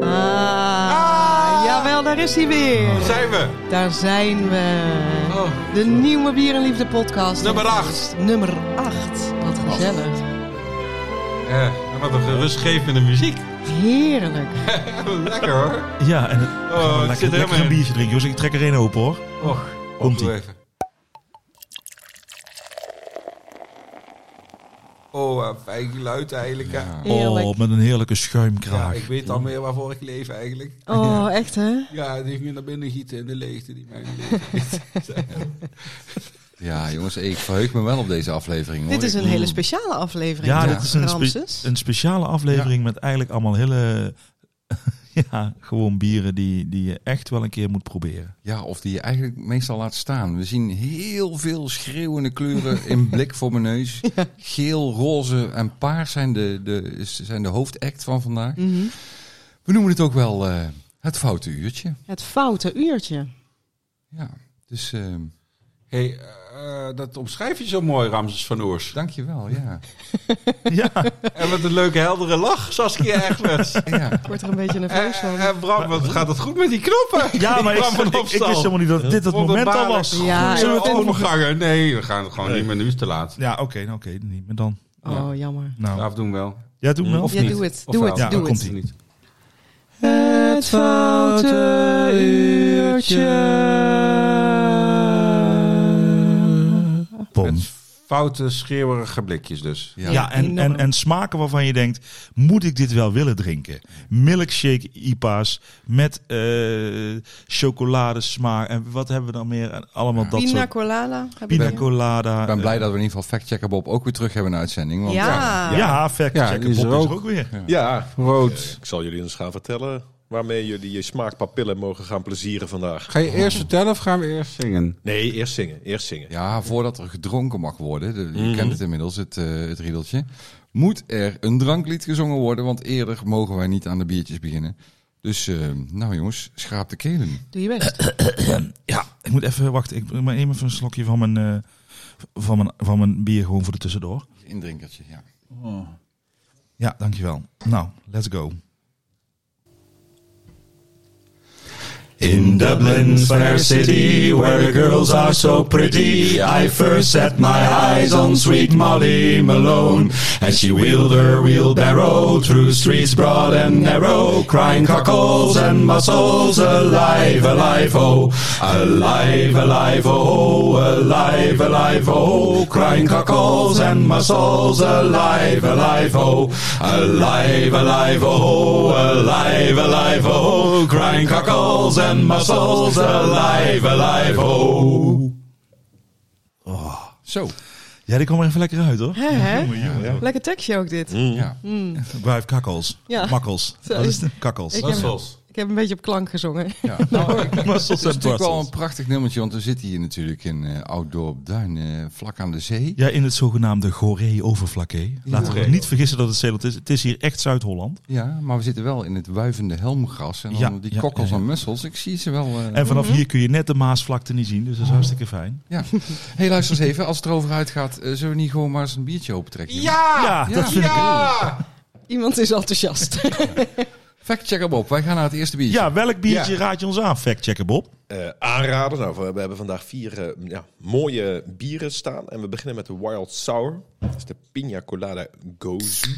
Ah, jawel, daar is hij weer. Zijn we? Daar zijn we. Oh. De nieuwe Bier en Liefde podcast. Nummer acht. Nummer 8. Wat gezellig. Ja, wat een rustgevende muziek. Heerlijk. Lekker hoor. Ja, en het, het oh, zit lekker, er lekker helemaal in. een biertje drinken. Jongens, ik trek er één open hoor. Och, Komt-ie. doe even. Oh, eh, fijn geluid eigenlijk. hè. Ja. Heerlijk. Oh, met een heerlijke schuimkraag. ik weet dan weer waarvoor ik leef eigenlijk. Oh, echt hè? Ja, die ging naar binnen gieten in de leegte die mij leeft. Ja, jongens, ik verheug me wel op deze aflevering. Hoor. Dit is Ik een hele speciale aflevering. ja, toch, dit is een, spe- Ramses? een speciale aflevering met eigenlijk allemaal hele... ja, gewoon bieren die, die je echt wel een keer moet proberen. Ja, of die je eigenlijk meestal laat staan. We zien heel veel schreeuwende kleuren in blik voor mijn neus. Geel, roze en paars zijn de, de, zijn de hoofdact van vandaag. Mhm. We noemen het ook wel eh, het foute uurtje. Het foute uurtje. Ja, dus eh, Hé, hey, eh, dat omschrijf je zo mooi, Ramses van Oers. dankjewel, ja. ja, En wat een leuke, heldere lach, Saskia Egberts. ja. Ik word er een beetje nerveus van. En, en Bram, wat gaat het goed met die knoppen? ja maar ik, Bram van ik, ik wist Opstal. helemaal niet dat dit het moment al Wonderbaarlijk. was. Ja, Zullen we ik- het overgangen? Nee, we gaan het gewoon Nee. niet meer nu is te laat. Ja, oké, nou, oké, niet meer dan. Oh, jammer. Nou, Of doen we wel. ja, doen we wel. Of Ja, niet. doe het. Of Doe wel. het. Ja, doe dan het. komt-ie. Niet. Het foute uurtje. Pom. Met foute, schreeuwerige blikjes dus. Ja. Ja, en, en, en smaken waarvan je denkt, moet ik dit wel willen drinken? Milkshake IPA's met eh chocoladesmaak. En wat hebben we dan meer? En allemaal dat Pina soort... colada. heb ik Pina hier. colada. Ik ben blij eh, dat we in ieder geval factchecker Bob ook weer terug hebben in de uitzending. Want Ja. Ja, ja fact Ja, checken die is Bob er is er ook. ook weer. Ja, rood. Ik zal jullie eens gaan vertellen waarmee jullie je smaakpapillen mogen gaan plezieren vandaag. Ga je eerst vertellen of gaan we eerst zingen? Nee, eerst zingen. Eerst zingen. Ja, voordat er gedronken mag worden, de- je Mhm. kent het inmiddels, het, eh, het riedeltje, moet er een dranklied gezongen worden, want eerder mogen wij niet aan de biertjes beginnen. Dus, eh, nou jongens, schraap de kelen. Doe je best. Ja, ik moet even wachten. Ik neem even een slokje van mijn, eh, van, mijn, van mijn bier gewoon voor de tussendoor. Indrinkertje, ja. Ja, dankjewel. Nou, let's go. In Dublin's fair city, where the girls are so pretty, I first set my eyes on sweet Molly Malone. As she wheeled her wheelbarrow through streets broad and narrow, crying cockles and mussels, alive, alive, oh. Alive, alive, oh, alive, alive, oh. Crying cockles and mussels, alive, alive, oh. Alive, alive, oh, alive, alive, oh. Crying cockles and mussels, alive, alive, oh. Zo, Ja, die kwam er even lekker uit hoor. Hè, hè? Ja. Lekker tekstje ook dit. Mhm. ja. Vijf kakkels. Ja. Makkels. Zo Wat is is het? Kakkels. Ik heb- Ik heb een beetje op klank gezongen. ja. Nou, ik- Mussels het is en natuurlijk wel brussels. een prachtig nummertje, want we zitten hier natuurlijk in eh Ouddorp Duin, eh, vlak aan de zee. Ja, in het zogenaamde Goree-overvlakke. Laten we Goree. niet vergissen dat het Zeeland is. Het is hier echt Zuid-Holland. Ja, maar we zitten wel in het wuivende helmgras en dan Ja, die ja, kokkels ja, ja. en mussels. Ik zie ze wel... eh, En Mhm. vanaf hier kun je net de Maasvlakte niet zien, dus dat is hartstikke fijn. ja. hey, luister eens even, als het erover uitgaat, eh, zullen we niet gewoon maar eens een biertje opentrekken? Ja! Ja, dat vind ik... Ja! Iemand is enthousiast. Factchecker Bob, wij gaan naar het eerste biertje. Ja, welk biertje Ja. raad je ons aan, factchecker Bob? Eh, aanraden. Nou, we, we hebben vandaag vier eh, ja, mooie bieren staan. En we beginnen met de Wild Sour. Dat is de Pina Colada Gozu.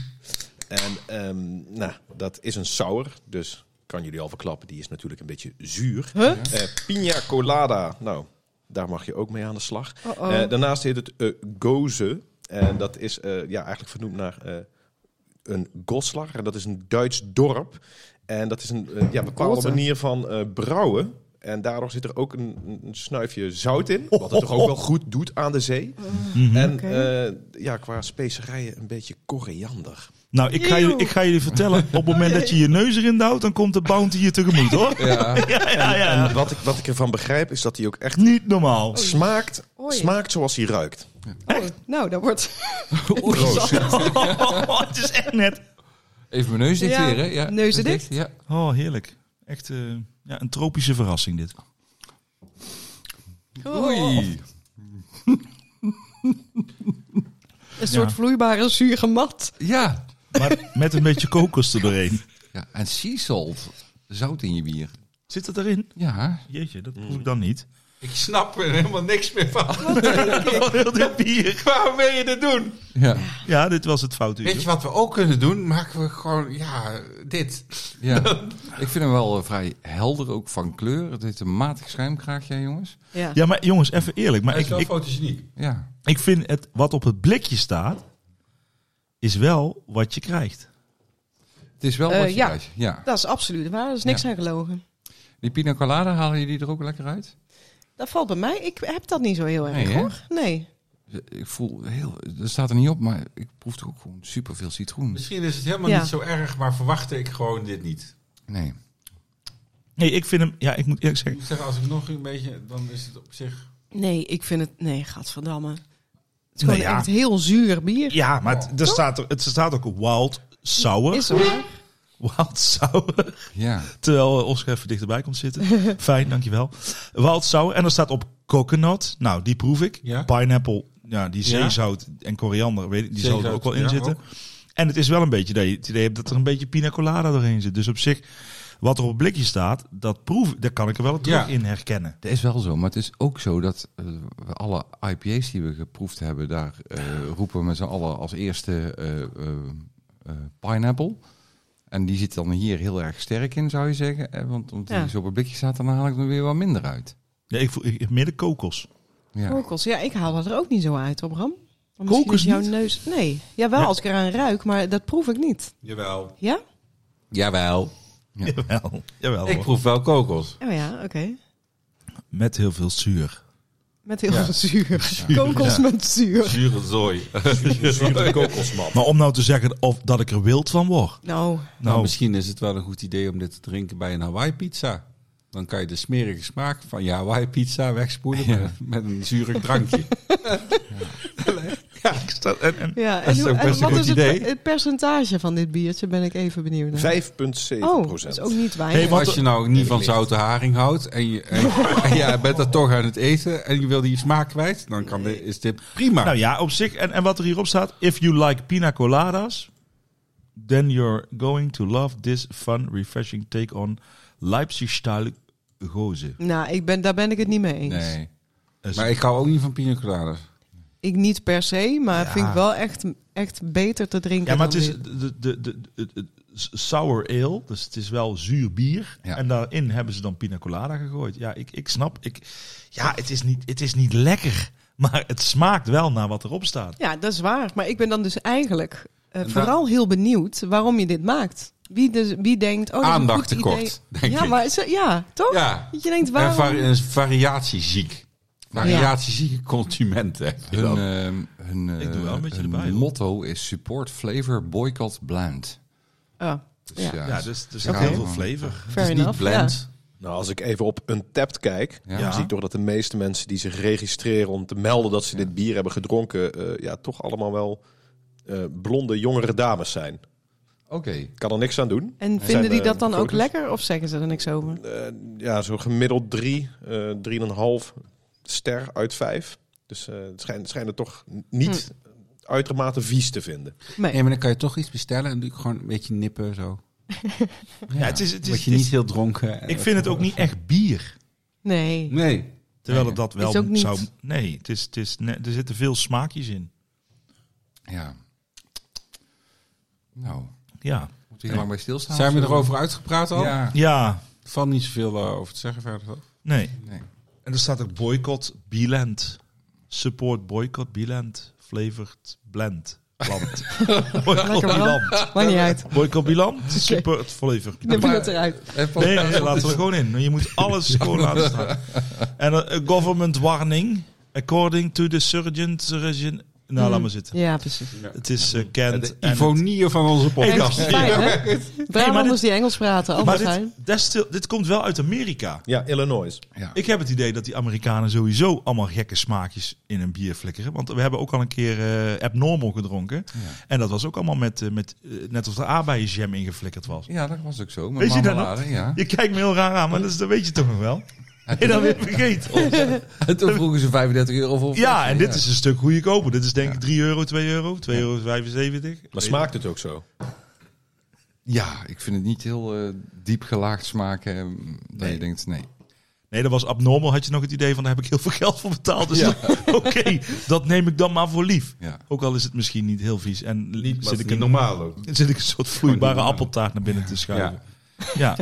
En ehm, nou, dat is een sour. Dus kan jullie al verklappen, die is natuurlijk een beetje zuur. Eh, Pina Colada. Nou, daar mag je ook mee aan de slag. Oh-oh. Eh, daarnaast heet het eh, Goze. En dat is eh, ja, eigenlijk vernoemd naar eh, een Goslar. En dat is een Duits dorp. En dat is een eh, ja, bepaalde Goze. manier van eh, brouwen. En daardoor zit er ook een, een snuifje zout in. Oh. Wat het toch ook wel goed doet aan de zee. En Mm. Oké. eh, ja, qua specerijen een beetje koriander. Nou, ik ga, jullie, Eeuw. ik ga jullie vertellen, op het moment dat je je neus erin duwt, dan komt de bounty je tegemoet, hoor. Ja. Ja, ja, ja. En wat ik, wat ik ervan begrijp is dat hij ook echt Niet normaal. smaakt, Oei. smaakt zoals hij ruikt. Oh, nou, dat wordt... Oh, het is echt net... Even mijn neus dicht Ja, weer, hè? Ja, neuzen dat is dicht. Ja. Oh, heerlijk. Echt eh, ja, een tropische verrassing, dit. Oh. Oei. Een soort Ja. vloeibare zuurige mat. Ja. Maar met een beetje kokos er doorheen. Ja, en sea salt. Zout in je bier. Zit dat erin? Ja. Jeetje, dat proef ik dan niet. Ik snap er helemaal niks meer van. Heel dit bier. Waarom wil je dit doen? Ja. Ja, dit was het fout. Weet je wat we ook kunnen doen? Maken we gewoon, ja, dit. ja. Ik vind hem wel eh, vrij helder ook van kleur. Het heeft een matig schuimkraagje, hè, jongens. Ja. Ja, maar jongens, even eerlijk. Maar Hij ik, is wel ik, fotogeniek. Ja. ik vind het, wat op het blikje staat, is wel wat je krijgt. Het is wel Eh, wat je ja. krijgt. Ja. Dat is absoluut waar. Er is niks aan gelogen. Die pina colada, halen jullie er ook lekker uit? Dat valt bij mij. Ik heb dat niet zo heel erg, Nee, hè? hoor. Nee. Ik voel heel... Dat staat er niet op, maar ik proef toch ook gewoon superveel citroen. Misschien is het helemaal Ja. niet zo erg, maar verwachtte ik gewoon dit niet. Nee. Nee, ik vind hem, ja, ik moet eerlijk Ik zeggen. moet zeggen, als ik nog een beetje, dan is het op zich... Nee, ik vind het... Nee, gadverdamme. Het is gewoon Nou ja. echt heel zuur bier. Ja, maar het, er staat, er- het staat ook wild sour. Is hoor. Wild sour. Ja. Terwijl eh, Oscar even dichterbij komt zitten. Fijn, dankjewel. Wild sour. En er staat op coconut. Nou, die proef ik. Ja. Pineapple. Ja, die Ja. zeezout en koriander, weet ik, die zal er Zeezout, ook wel in ja, zitten. ook. En het is wel een beetje dat je het idee hebt dat er een beetje pina colada doorheen zit. Dus op zich, wat er op het blikje staat, dat proef, daar kan ik er wel terug Ja. in herkennen. Dat is wel zo, maar het is ook zo dat eh, we alle IPA's die we geproefd hebben, daar eh, roepen we met z'n allen als eerste eh, eh, eh, pineapple. En die zit dan hier heel erg sterk in, zou je zeggen. Eh, want omdat Ja. die zo op een blikje staat, dan haal ik er weer wat minder uit. Ja, ik voel ik, heb meer de kokos. Ja. Kokos. Ja, ik haal dat er ook niet zo uit, hoor, Bram. Want misschien Kokos is jouw niet? neus... Nee. Jawel, Ja. als ik eraan ruik, maar dat proef ik niet. Jawel. Ja? Jawel. Jawel. Jawel Ik hoor. proef wel kokos. Oh ja, oké. Met heel veel zuur. Met heel veel zuur. Kokos met zuur. Zure zooi. Zure kokosman. Maar om nou te zeggen of dat ik er wild van word. Nou, Nou, Nou, misschien is het wel een goed idee om dit te drinken bij een Hawaii pizza. Dan kan je de smerige smaak van je Hawaii pizza wegspoelen met, met een zuurig drankje. ja, ik sta- en- en- ja. En, Dat is hoe- ook en best een wat goed is het, idee. het percentage van dit biertje? Ben ik even benieuwd naar. 5,7 Oh, dat procent. is ook niet weinig. Hey, want- Als je nou niet van zoute haring houdt en je, en, en jij bent dat toch aan het eten en je wil die smaak kwijt, dan kan dit, is dit prima. Nou ja, op zich. En, en wat er hierop staat. If you like pina coladas, then you're going to love this fun, refreshing take on Leipzig-style gozer. Nou, ik ben, daar ben ik het niet mee eens. nee. Dus- Maar ik hou ook niet van pina coladas. Ik niet per se, maar vind ik wel echt, echt beter te drinken. Ja, maar het dan is dit. de, de, de, de- het- het sour ale, dus het is wel zuur bier. Ja. En daarin hebben ze dan pina colada gegooid. Ja, ik, ik snap. Ik, ja, het is, niet, het is niet lekker, maar het smaakt wel naar wat erop staat. Ja, dat is waar. Maar ik ben dan dus eigenlijk eh, vooral heel benieuwd waarom je dit maakt. Wie, dus, wie denkt, oh, dat is een Aandacht goed tekort, idee. denk ja, ik. Maar, zo- ja, Oh, toch? Ja. Dat Je denkt, En eh, waarom? vari is variatieziek. Variatiezieke consumenten. heb je Hun, dan. eh, hun, eh, Ik doe wel een beetje hun erbij, hoor. motto is support flavor boycott blend. Oh, Dus Ja. Ja, dus er zit Oké. heel veel flavor. fair Het is niet enough. ja. blend. Nou, als ik even op Untapped kijk, Ja. dan zie ik toch dat de meeste mensen die zich registreren om te melden dat ze dit bier hebben gedronken, eh, ja, toch allemaal wel eh, blonde jongere dames zijn. Oké. Kan er niks aan doen. En Zijn, vinden die eh, dat dan ook foto's? lekker of zeggen ze er niks over? Eh, ja, zo gemiddeld drie, eh drieënhalf ster uit vijf. Dus eh, het schijnt, schijnen toch niet uitermate vies te vinden. Nee. Nee, maar dan kan je toch iets bestellen en doe ik gewoon een beetje nippen zo. Ja, het is, het Word is, je het is- niet heel dronken. ik vind het ook niet echt bier. Nee. Nee. Terwijl het dat wel Is ook niet. zou. Nee, het is, het is, nee, er zitten veel smaakjes in. Ja. Nou, Ja. moeten we hier lang bij stilstaan? Zijn we Zullen erover uitgepraat al? Ja. eh, Ja, Valt niet zoveel eh, over te zeggen verder. toch? nee. Nee. En er staat ook boycott Bieland. Support boycott Bieland. Flavored blend. Land. boycott Lekker man. Bieland. Maakt niet uit. Boycott Bieland. Support flavor. Ik neem het eruit. En van- Nee, nee, laten we er gewoon in. Je moet alles gewoon laten staan. En eh, a government warning. According to the surgeon. surgeon nou, laat maar zitten. Hmm. Ja, precies. Het is eh, kent. De en het- ivonieën van onze Hey, dat podcast. is Fijn, fijn. hè? maar Brabanders dit- die Engels praten, Maar anders dit, zijn. dat is stil- dit komt wel uit Amerika. Ja, Illinois. Ja. Ik heb het idee dat die Amerikanen sowieso allemaal gekke smaakjes in een bier flikkeren. Want we hebben ook al een keer eh, Abnormal gedronken. En dat was ook allemaal met, eh, met eh, net als de aardbeienjam ingeflikkerd was. Ja, dat was ook zo. Met Weet je dat marmelade, Ja. Je kijkt me heel raar aan, maar dat, is, dat weet je toch nog wel? Heb je dat weer vergeten? En toen vroegen ze 35 euro voor. Ja, en dit is een stuk goedkoper. Dit is denk ik 3 euro, 2 euro, 2,75 euro. Maar smaakt het ook zo? Ja, ik vind het niet heel eh, diep gelaagd smaken. eh, Dat je denkt, nee. Nee, dat was abnormal. Had je nog het idee van, daar heb ik heel veel geld voor betaald. Dus oké, dat neem ik dan maar voor lief. Ja. Ook al is het misschien niet heel vies. En Niet, maar zit, het ik is een, niet normaal ook. zit ik een soort vloeibare appeltaart naar binnen te schuiven. Ja,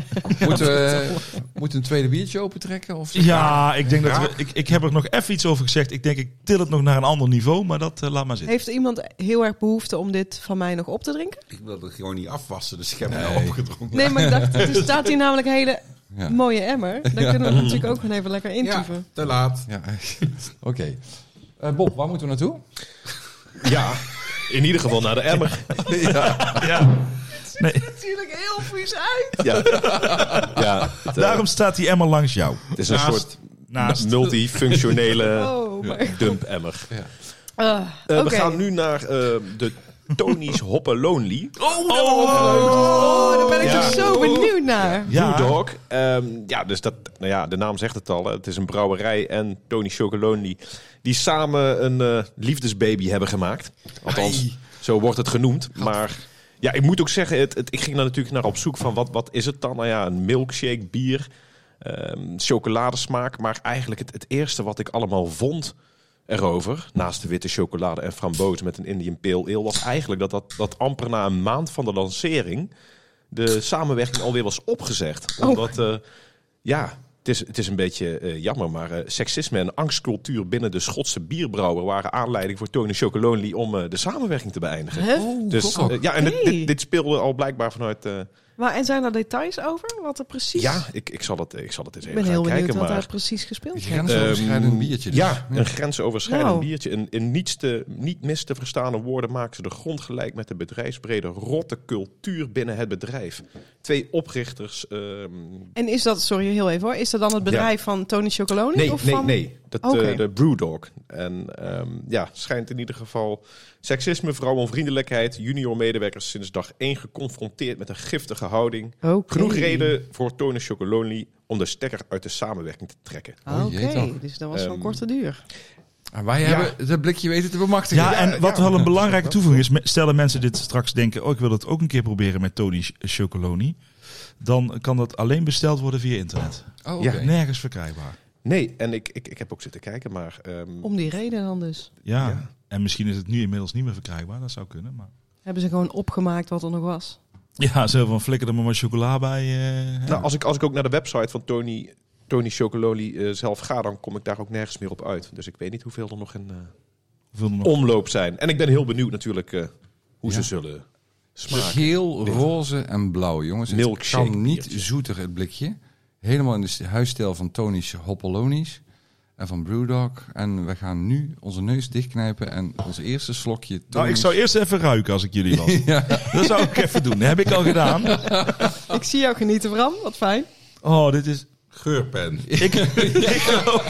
Moeten we moeten we een tweede biertje opentrekken? Of ja. ik denk dat... we- ik, ik heb er nog even iets over gezegd. Ik denk, ik til het nog naar een ander niveau. Maar dat eh, laat maar zitten. Heeft iemand heel erg behoefte om dit van mij nog op te drinken? Ik wil het gewoon niet afwassen, dus ik heb het al opgedronken. Nee, maar ik dacht, er staat hier namelijk een hele Ja. mooie emmer. Daar kunnen we het natuurlijk ook gewoon even lekker intoeven. te laat. Ja, oké. Eh, Bob, waar moeten we naartoe? Ja, in ieder geval naar de emmer. Nee, Natuurlijk heel vies uit. Ja, ja het, eh, daarom staat die emmer langs jou. het is een naast- soort Naast. multifunctionele Oh, maar. dump-emmer. Ah, Eh, oké. We gaan nu naar eh, de Tony's Hoppen Lonely. Oh, oh. Oh, daar ben ik Ja. toch zo benieuwd naar. Ja. Blue Dog. Ehm, ja, dus dat, nou ja, de naam zegt het al. hè. Het is een brouwerij en Tony Chocolonely. Die samen een eh, liefdesbaby hebben gemaakt. Althans, zo wordt het genoemd. Maar ja, ik moet ook zeggen, het, het, ik ging daar natuurlijk naar op zoek van wat, wat is het dan? Nou ja, een milkshake, bier, ehm, chocoladesmaak. Maar eigenlijk het, het eerste wat ik allemaal vond erover, naast de witte chocolade en frambozen met een Indian Pale Ale, was eigenlijk dat, dat, dat amper na een maand van de lancering de samenwerking alweer was opgezegd. Oh. Omdat, eh, ja, het is, het is een beetje eh, jammer, maar eh, seksisme en angstcultuur binnen de Schotse bierbrouwer waren aanleiding voor Tony Chocolonely om eh, de samenwerking te beëindigen. Hè? Oh, Dus eh, ja, en dit, Oké. dit, dit speelde al blijkbaar vanuit. eh, Maar en zijn er details over? Wat er precies... ja, ik, ik, zal het, ik zal het eens Ik even ben heel gaan kijken. benieuwd wat maar, daar precies gespeeld werd. Grensoverschrijdend Ehm, biertje. dus. Ja, een grensoverschrijdend Nou. biertje. In, in niets te, niet mis te verstaande woorden maakt ze de grond gelijk met de bedrijfsbrede rotte cultuur binnen het bedrijf. Twee oprichters. ehm, En is dat, sorry heel even hoor, is dat dan het bedrijf van Tony Chocoloni? nee, of nee, van... nee. Dat, Oké. eh, de Brewdog. En ehm, ja, schijnt in ieder geval seksisme, vrouwenvriendelijkheid, junior medewerkers sinds dag één geconfronteerd met een giftige houding. Oké. Genoeg reden voor Tony Chocolonely om de stekker uit de samenwerking te trekken. Oké, Oh, jee, toch. dus dat was van Ehm, korte duur. En Ah, wij hebben dat blikje weten te bemachtigen. Ja, en wat wel een belangrijke toevoeging is, me- stellen mensen dit straks denken, oh ik wil dat ook een keer proberen met Tony Ch- Chocoloni, dan kan dat alleen besteld worden via internet. Oh, oké. Ja. Nergens verkrijgbaar. Nee, en ik, ik, ik heb ook zitten kijken, maar... ehm, Om die reden dan dus. Ja. en misschien is het nu inmiddels niet meer verkrijgbaar, dat zou kunnen. Maar... Hebben ze gewoon opgemaakt wat er nog was. Ja, zo van flikker er maar maar chocola bij. eh, hè. Nou, als ik, als ik ook naar de website van Tony, Tony Chocololi eh, zelf ga, dan kom ik daar ook nergens meer op uit. Dus ik weet niet hoeveel er nog in eh, Hoeveel er nog- omloop zijn. En ik ben heel benieuwd natuurlijk eh, hoe ze zullen smaken. Dus Geel, roze en blauw, jongens. Het Milkshake kan niet biertje. zoeter, het blikje. Helemaal in de s- huisstijl van Tony's Hoppelonies en van Brewdog. En we gaan nu onze neus dichtknijpen en ons eerste slokje Tony's... Nou, ik zou eerst even ruiken als ik jullie was. Dat zou ik even doen. Dat heb ik al gedaan. Ah. Ik zie jou genieten, Bram. Wat fijn. Oh, dit is... Geurpen. Ik, ik ook.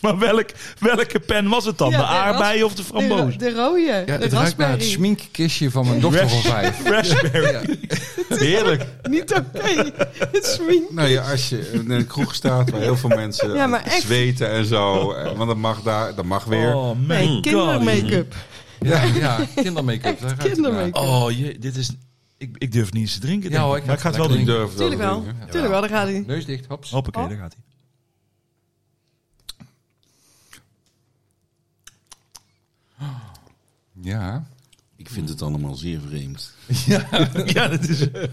maar welk, welke pen was het dan? Ja, de de ras- aardbei of de Oh, De, framboos? de rode, de Ja, het ruikt naar het raspberry. schminkkistje van mijn dochter van vijf. Raspberry. Heerlijk. Niet oké. het swing. Nou ja, als je in een kroeg staat waar heel veel mensen Ja, maar echt. zweten en zo. eh, Want dat mag daar, dat mag weer. Oh, man. Nee, kindermake-up. Ja, ja kindermake-up. daar gaat het naar. Kindermake-up. Oh, je, dit is... Ik, ik durf niet eens te drinken. Ja, denk hoor, ik. ik maar ik ga ga het het wel Ik doen. durf dat Tuurlijk te wel. drinken. Tuurlijk wel, daar gaat hij. Neus dicht, hops. Hoppakee, daar gaat hij. Ja, Ik vind het allemaal zeer vreemd. Ja, dit, is, het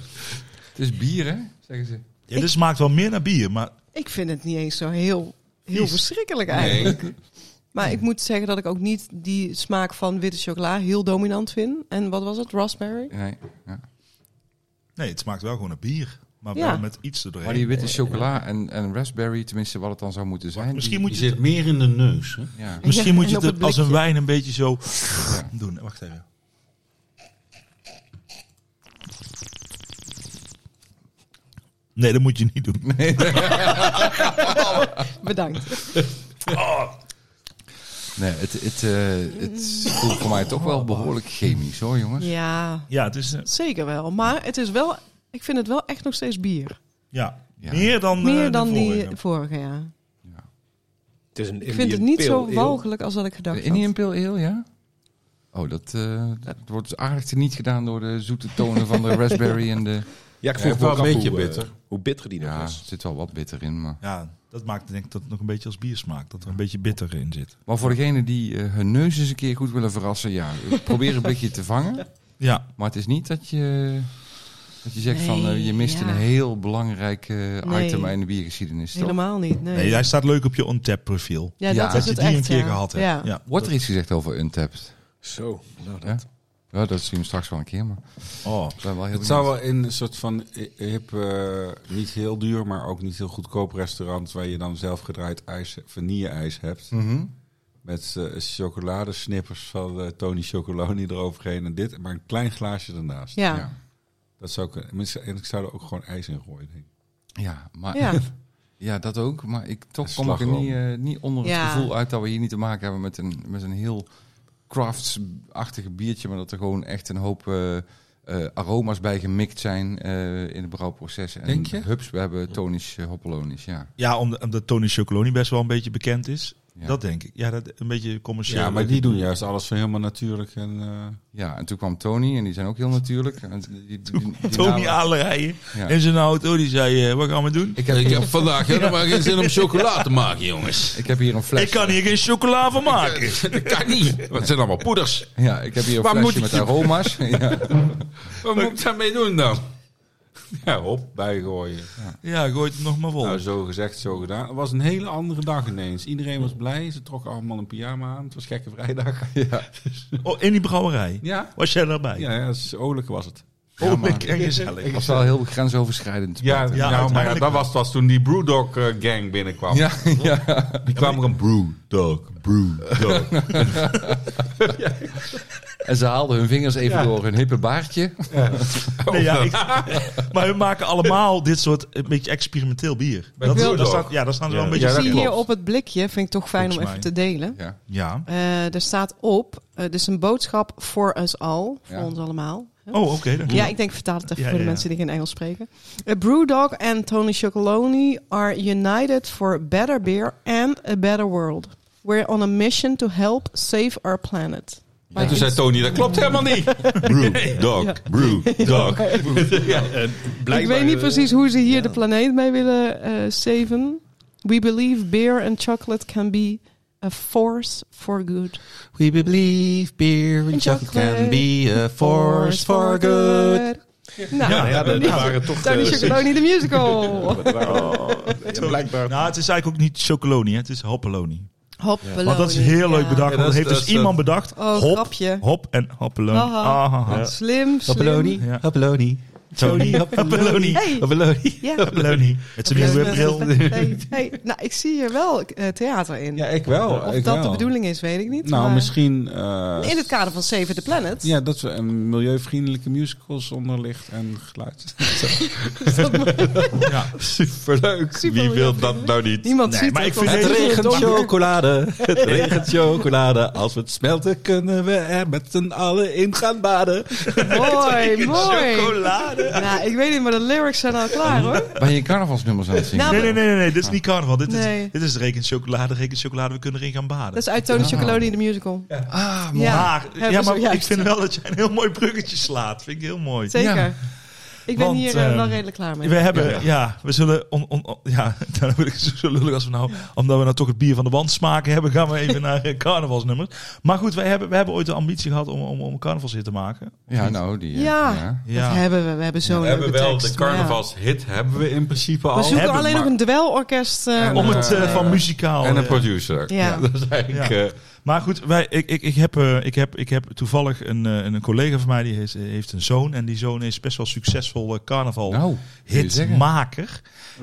is bier, hè? Zeggen ze. ja, dit smaakt wel meer naar bier, maar... Ik vind het niet eens zo heel, heel Vies. verschrikkelijk eigenlijk. Maar ik moet zeggen dat ik ook niet die smaak van witte chocola heel dominant vind. En wat was het? Raspberry? Nee. Ja. Nee, het smaakt wel gewoon naar bier. Maar Ja. wel met iets erdoorheen. Maar die witte chocola en, en raspberry, tenminste wat het dan zou moeten zijn. Misschien die- moet Je je zit meer in de neus. Hè? Ja. Misschien Ja, moet en je op het, het als een blikje. wijn een beetje zo doen. Wacht even. Nee, dat moet je niet doen. Bedankt. Nee, het, het, eh, het voelt voor mij toch wel behoorlijk chemisch hoor, jongens. Ja, Ja, het is eh, zeker wel. Maar het is wel, ik vind het wel echt nog steeds bier. ja, Ja. meer dan, eh, Meer de dan die vorige. vorige, ja. Het is een Ik vind het niet zo walgelijk als dat ik gedacht De had. Indian Pale Ale, ja? Oh, dat, eh, dat wordt dus aardig niet gedaan door de zoete tonen van de raspberry en de... Ja, ik Ja, vroeg wel me een ook af beetje hoe, eh, bitter. hoe bitter die nog Ja, er is. zit wel wat bitter in, maar... Ja, dat maakt denk ik dat het nog een beetje als bier smaakt. Dat er een beetje bitter in zit. Maar voor degene die eh, hun neus eens een keer goed willen verrassen, ja, probeer een blikje te vangen. Ja, Maar het is niet dat je, dat je zegt van, eh, je mist Nee, een ja. heel belangrijk eh, Nee. item in de biergeschiedenis. toch? Helemaal niet, nee. nee, hij staat leuk op je on-tap profiel. ja, Ja, dat dat is je het die echt, een keer ja. gehad hebt. Ja. Wordt er iets gezegd over Untapped? Zo, nou Ja? dat. Ja, dat zien we straks wel een keer, maar Oh. ik ben wel heel Het zou benieuwd. wel in een soort van hi- hip, eh, niet heel duur, maar ook niet heel goedkoop restaurant... waar je dan zelf gedraaid ijs, vanille-ijs hebt. Mhm. Met eh, chocoladesnippers van eh, Tony Chocoloni eroverheen en dit. Maar een klein glaasje ernaast. Ja. Ja. Dat zou ik, tenminste, en ik zou er ook gewoon ijs in gooien. Denk ik. Ja, maar, Ja. Dus ja. dat ook. Maar ik toch En kom ik er slagroom. niet, eh, niet onder het Ja. gevoel uit dat we hier niet te maken hebben met een, met een heel crafts-achtige biertje. Maar dat er gewoon echt een hoop eh, eh, aroma's bij gemikt zijn eh, in het brouwproces. En Denk je? Hubs, we hebben tonisch eh, hoppelonisch, ja. Ja, omdat, omdat Tony Chocoloni best wel een beetje bekend is. Ja. Dat denk ik. Ja, dat, een beetje commercieel. Ja, maar die doen juist alles van helemaal natuurlijk. En, eh, Ja, en toen kwam Tony en die zijn ook heel natuurlijk. En die- die- die- die Tony Nou, namen- aanrijden Ja. en zijn auto. Die zei, eh, wat gaan we doen? Ik heb, hier, vandaag helemaal geen zin om chocola te maken, jongens. ik heb hier een Ik fles. eh. kan hier geen chocola van maken. Dat kan niet. Wat zijn allemaal poeders. Ja, ik heb hier een Waar flesje moet met ik- aroma's. ja. Wat moet ik daarmee doen dan? ja, hop, bijgooien. Ja, gooi het nog maar vol. Nou, zo gezegd, zo gedaan. Het was een hele andere dag ineens. Iedereen was blij. Ze trokken allemaal een pyjama aan. Het was gekke vrijdag. Oh, in die brouwerij. Ja, Was jij daarbij? ja, ja oorlijk was het. Oh, Ja, maar- lekker en gezellig. Het was wel heel grensoverschrijdend. Ja, Ja, nou, maar ja, uiteindelijk dat was, was toen die Brewdog eh, gang binnenkwam. Ja, ja. Die kwam er een Brewdog, Brewdog. En ze haalden hun vingers even Ja. door hun hippe baardje. Nee, ja, ik- maar hun maken allemaal dit soort een beetje experimenteel bier. Dat, Brewdog. daar staat, ja, daar staan ze wel een beetje Ja, dat Zie voor. hier klopt. op het blikje, vind ik toch fijn om Volgens even te delen. Ja. Ja. Eh, er staat op, eh, dus een boodschap voor us all, voor Ja. ons allemaal. hè? Oh, oké. dank je. Ja, ik denk vertaal het even Ja, voor de ja, ja. mensen die geen Engels spreken. Eh, Brewdog and Tony Chocoloni are united for better beer and a better world. We're on a mission to help save our planet. Maar Toen zei Tony, dat klopt helemaal niet. Brewdog, Brewdog. ik weet niet precies hoe ze hier de planeet mee willen eh saven. We believe beer and chocolate can be a force for good. We believe beer and chocolate can be a Nou, Ja, ja, dat niet- waren toch... Tony eh, Chocoloni de musical. dat waren- Oh, ja, blijkbaar. Nou, het is eigenlijk ook niet chocoloni, hè, het is hoppeloni. Hoppeloni. Want dat is heel leuk ja. bedacht. dat Ja, dat is- heeft dat dus is- iemand bedacht. Oh, hop, grapje. hop en hoppeloni. Aha. Aha. Slim, slim. Hoppeloni, Ja. hoppeloni. Tony, hoppeloni. Hey. Hoppeloni. Ja. Hoppeloni. Het is een nieuwe bril. Hey, hey, nou, ik zie hier wel eh, theater in. Ja, ik wel. of ik dat wel. de bedoeling is, weet ik niet. Nou, maar misschien... eh, In het kader van Save the Planet. Ja, dat we een milieuvriendelijke musicals onderlicht en geluid. Ja. Superleuk. Super Wie wil leuk. dat nou niet? Niemand Nee, ziet maar het, ik vind want Het deze- is regent donker. chocolade. Het regent chocolade. Als we het smelten, kunnen we er met z'n allen in gaan baden. Mooi, mooi. Chocolade. Nou, ik weet niet, maar de lyrics zijn al klaar hoor. Ben je carnavalsnummers aan het zingen? Nou, Nee, nee, nee, nee, nee, dit is niet carnaval. Dit Nee. is, dit is reken chocolade, reken chocolade. We kunnen erin gaan baden. Dat is uit Tony Chocoloni de musical. Ah, mooi. Ja, maar, hebben ja, we maar zojuist. ik vind wel dat jij een heel mooi bruggetje slaat. Vind ik heel mooi. Zeker. Ja. Ik ben Want, hier eh, wel ehm, redelijk klaar mee. We hebben, ja, we zullen, on, on, on- ja, dan wil ik zo zo lullig als we nou, omdat we nou toch het bier van de wand smaken hebben, gaan we even naar eh, carnavalsnummers. Maar goed, wij hebben, wij hebben ooit de ambitie gehad om, om, om een carnavalshit te maken. Ja, nou, die... eh, Ja. Ja. Dat hebben we. We hebben zo'n We hebben leuke wel tekst, de maar ja. carnavalshit, hebben we in principe al. We zoeken hebben, alleen maar- nog een dwelorkest. eh, En Om om- het eh, eh, van muzikaal. En een eh, producer. Ja. Dat is eigenlijk... Ja. eh, maar goed, wij, ik, ik, ik, heb, eh, ik, heb, ik heb toevallig een, eh, een collega van mij die heeft, heeft een zoon. En die zoon is best wel succesvol eh, carnaval. Nou, zeggen. hitmaker.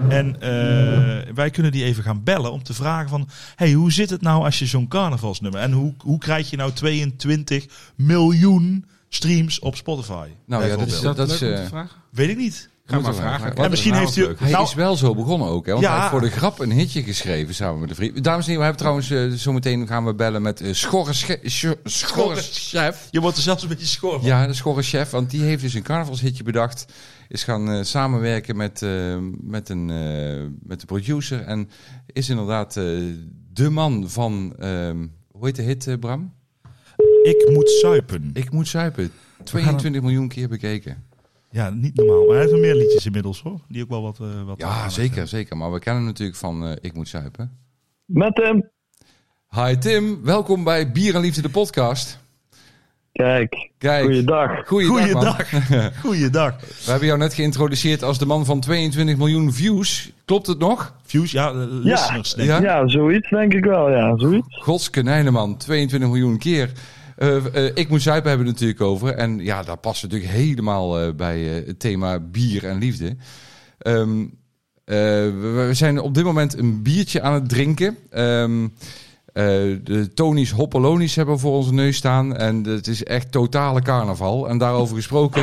En eh, wij kunnen die even gaan bellen om te vragen van... hey, hoe zit het nou als je zo'n carnavalsnummer... en hoe, hoe krijg je nou 22 miljoen streams op Spotify? Nou ja, dat is... bijvoorbeeld? Dat, is, leuk om eh, te vragen? Weet ik niet. Ga maar moeten we vragen. eigenlijk- Wat En misschien is heeft nou hij... Hij Nou, is wel zo begonnen ook, hè? Want Ja. hij heeft voor de grap een hitje geschreven samen met een vriend. Dames en heren, we hebben trouwens... eh, zometeen gaan we bellen met eh Schorre Sche- Scho- Schorre Chef. je wordt er zelfs een beetje schor van. Ja, de Schorre Chef, want die heeft dus een carnavalshitje bedacht. Is gaan eh, samenwerken met, eh, met, een, eh, met de producer. En is inderdaad eh, de man van, ehm, hoe heet de hit, eh, Bram? Ik moet zuipen. Ik moet zuipen. 22 miljoen keer bekeken. Ja, niet normaal. Maar hij heeft wel meer liedjes inmiddels hoor. Die ook wel wat. eh, wat Ja, zeker, zeker. Maar we kennen hem natuurlijk van eh, Ik moet zuipen. Met hem. Hi Tim, welkom bij Bier en Liefde, de podcast. Kijk, Kijk, goeiedag. goeiedag, man. Goeiedag. Goeiedag. We hebben jou net geïntroduceerd als de man van 22 miljoen views. Klopt het nog? Views, ja, eh, listeners. denk ik. Ja? Ja, zoiets denk ik wel, ja, zoiets. Godske Nijneman, 22 miljoen keer. Eh, eh, ik moet zuipen hebben we het natuurlijk over. En ja, daar past natuurlijk helemaal eh, bij eh, het thema bier en liefde. Ehm, eh, we, we zijn op dit moment een biertje aan het drinken. Ehm, eh, de Tonisch Hoppelonisch hebben we voor onze neus staan. En het is echt totale carnaval. En daarover gesproken.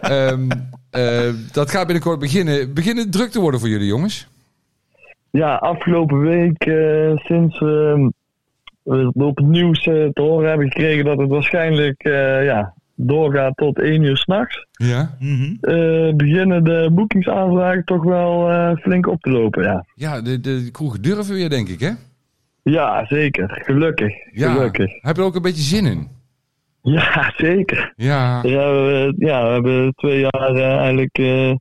ehm, eh, dat gaat binnenkort beginnen. Beginnen het druk te worden voor jullie, jongens. Ja, afgelopen week, eh, sinds eh, we op het nieuws eh, te horen hebben gekregen dat het waarschijnlijk eh, ja, doorgaat tot 1 uur s'nachts, Ja. Mhm. eh beginnen de boekingsaanvragen toch wel eh, flink op te lopen, ja. Ja, de, de kroegen durven weer, denk ik, hè? Ja, zeker. Gelukkig. Gelukkig. Heb je er ook een beetje zin in? Ja, zeker. Ja. Ja, we, ja, we hebben twee jaar eh, eigenlijk eh,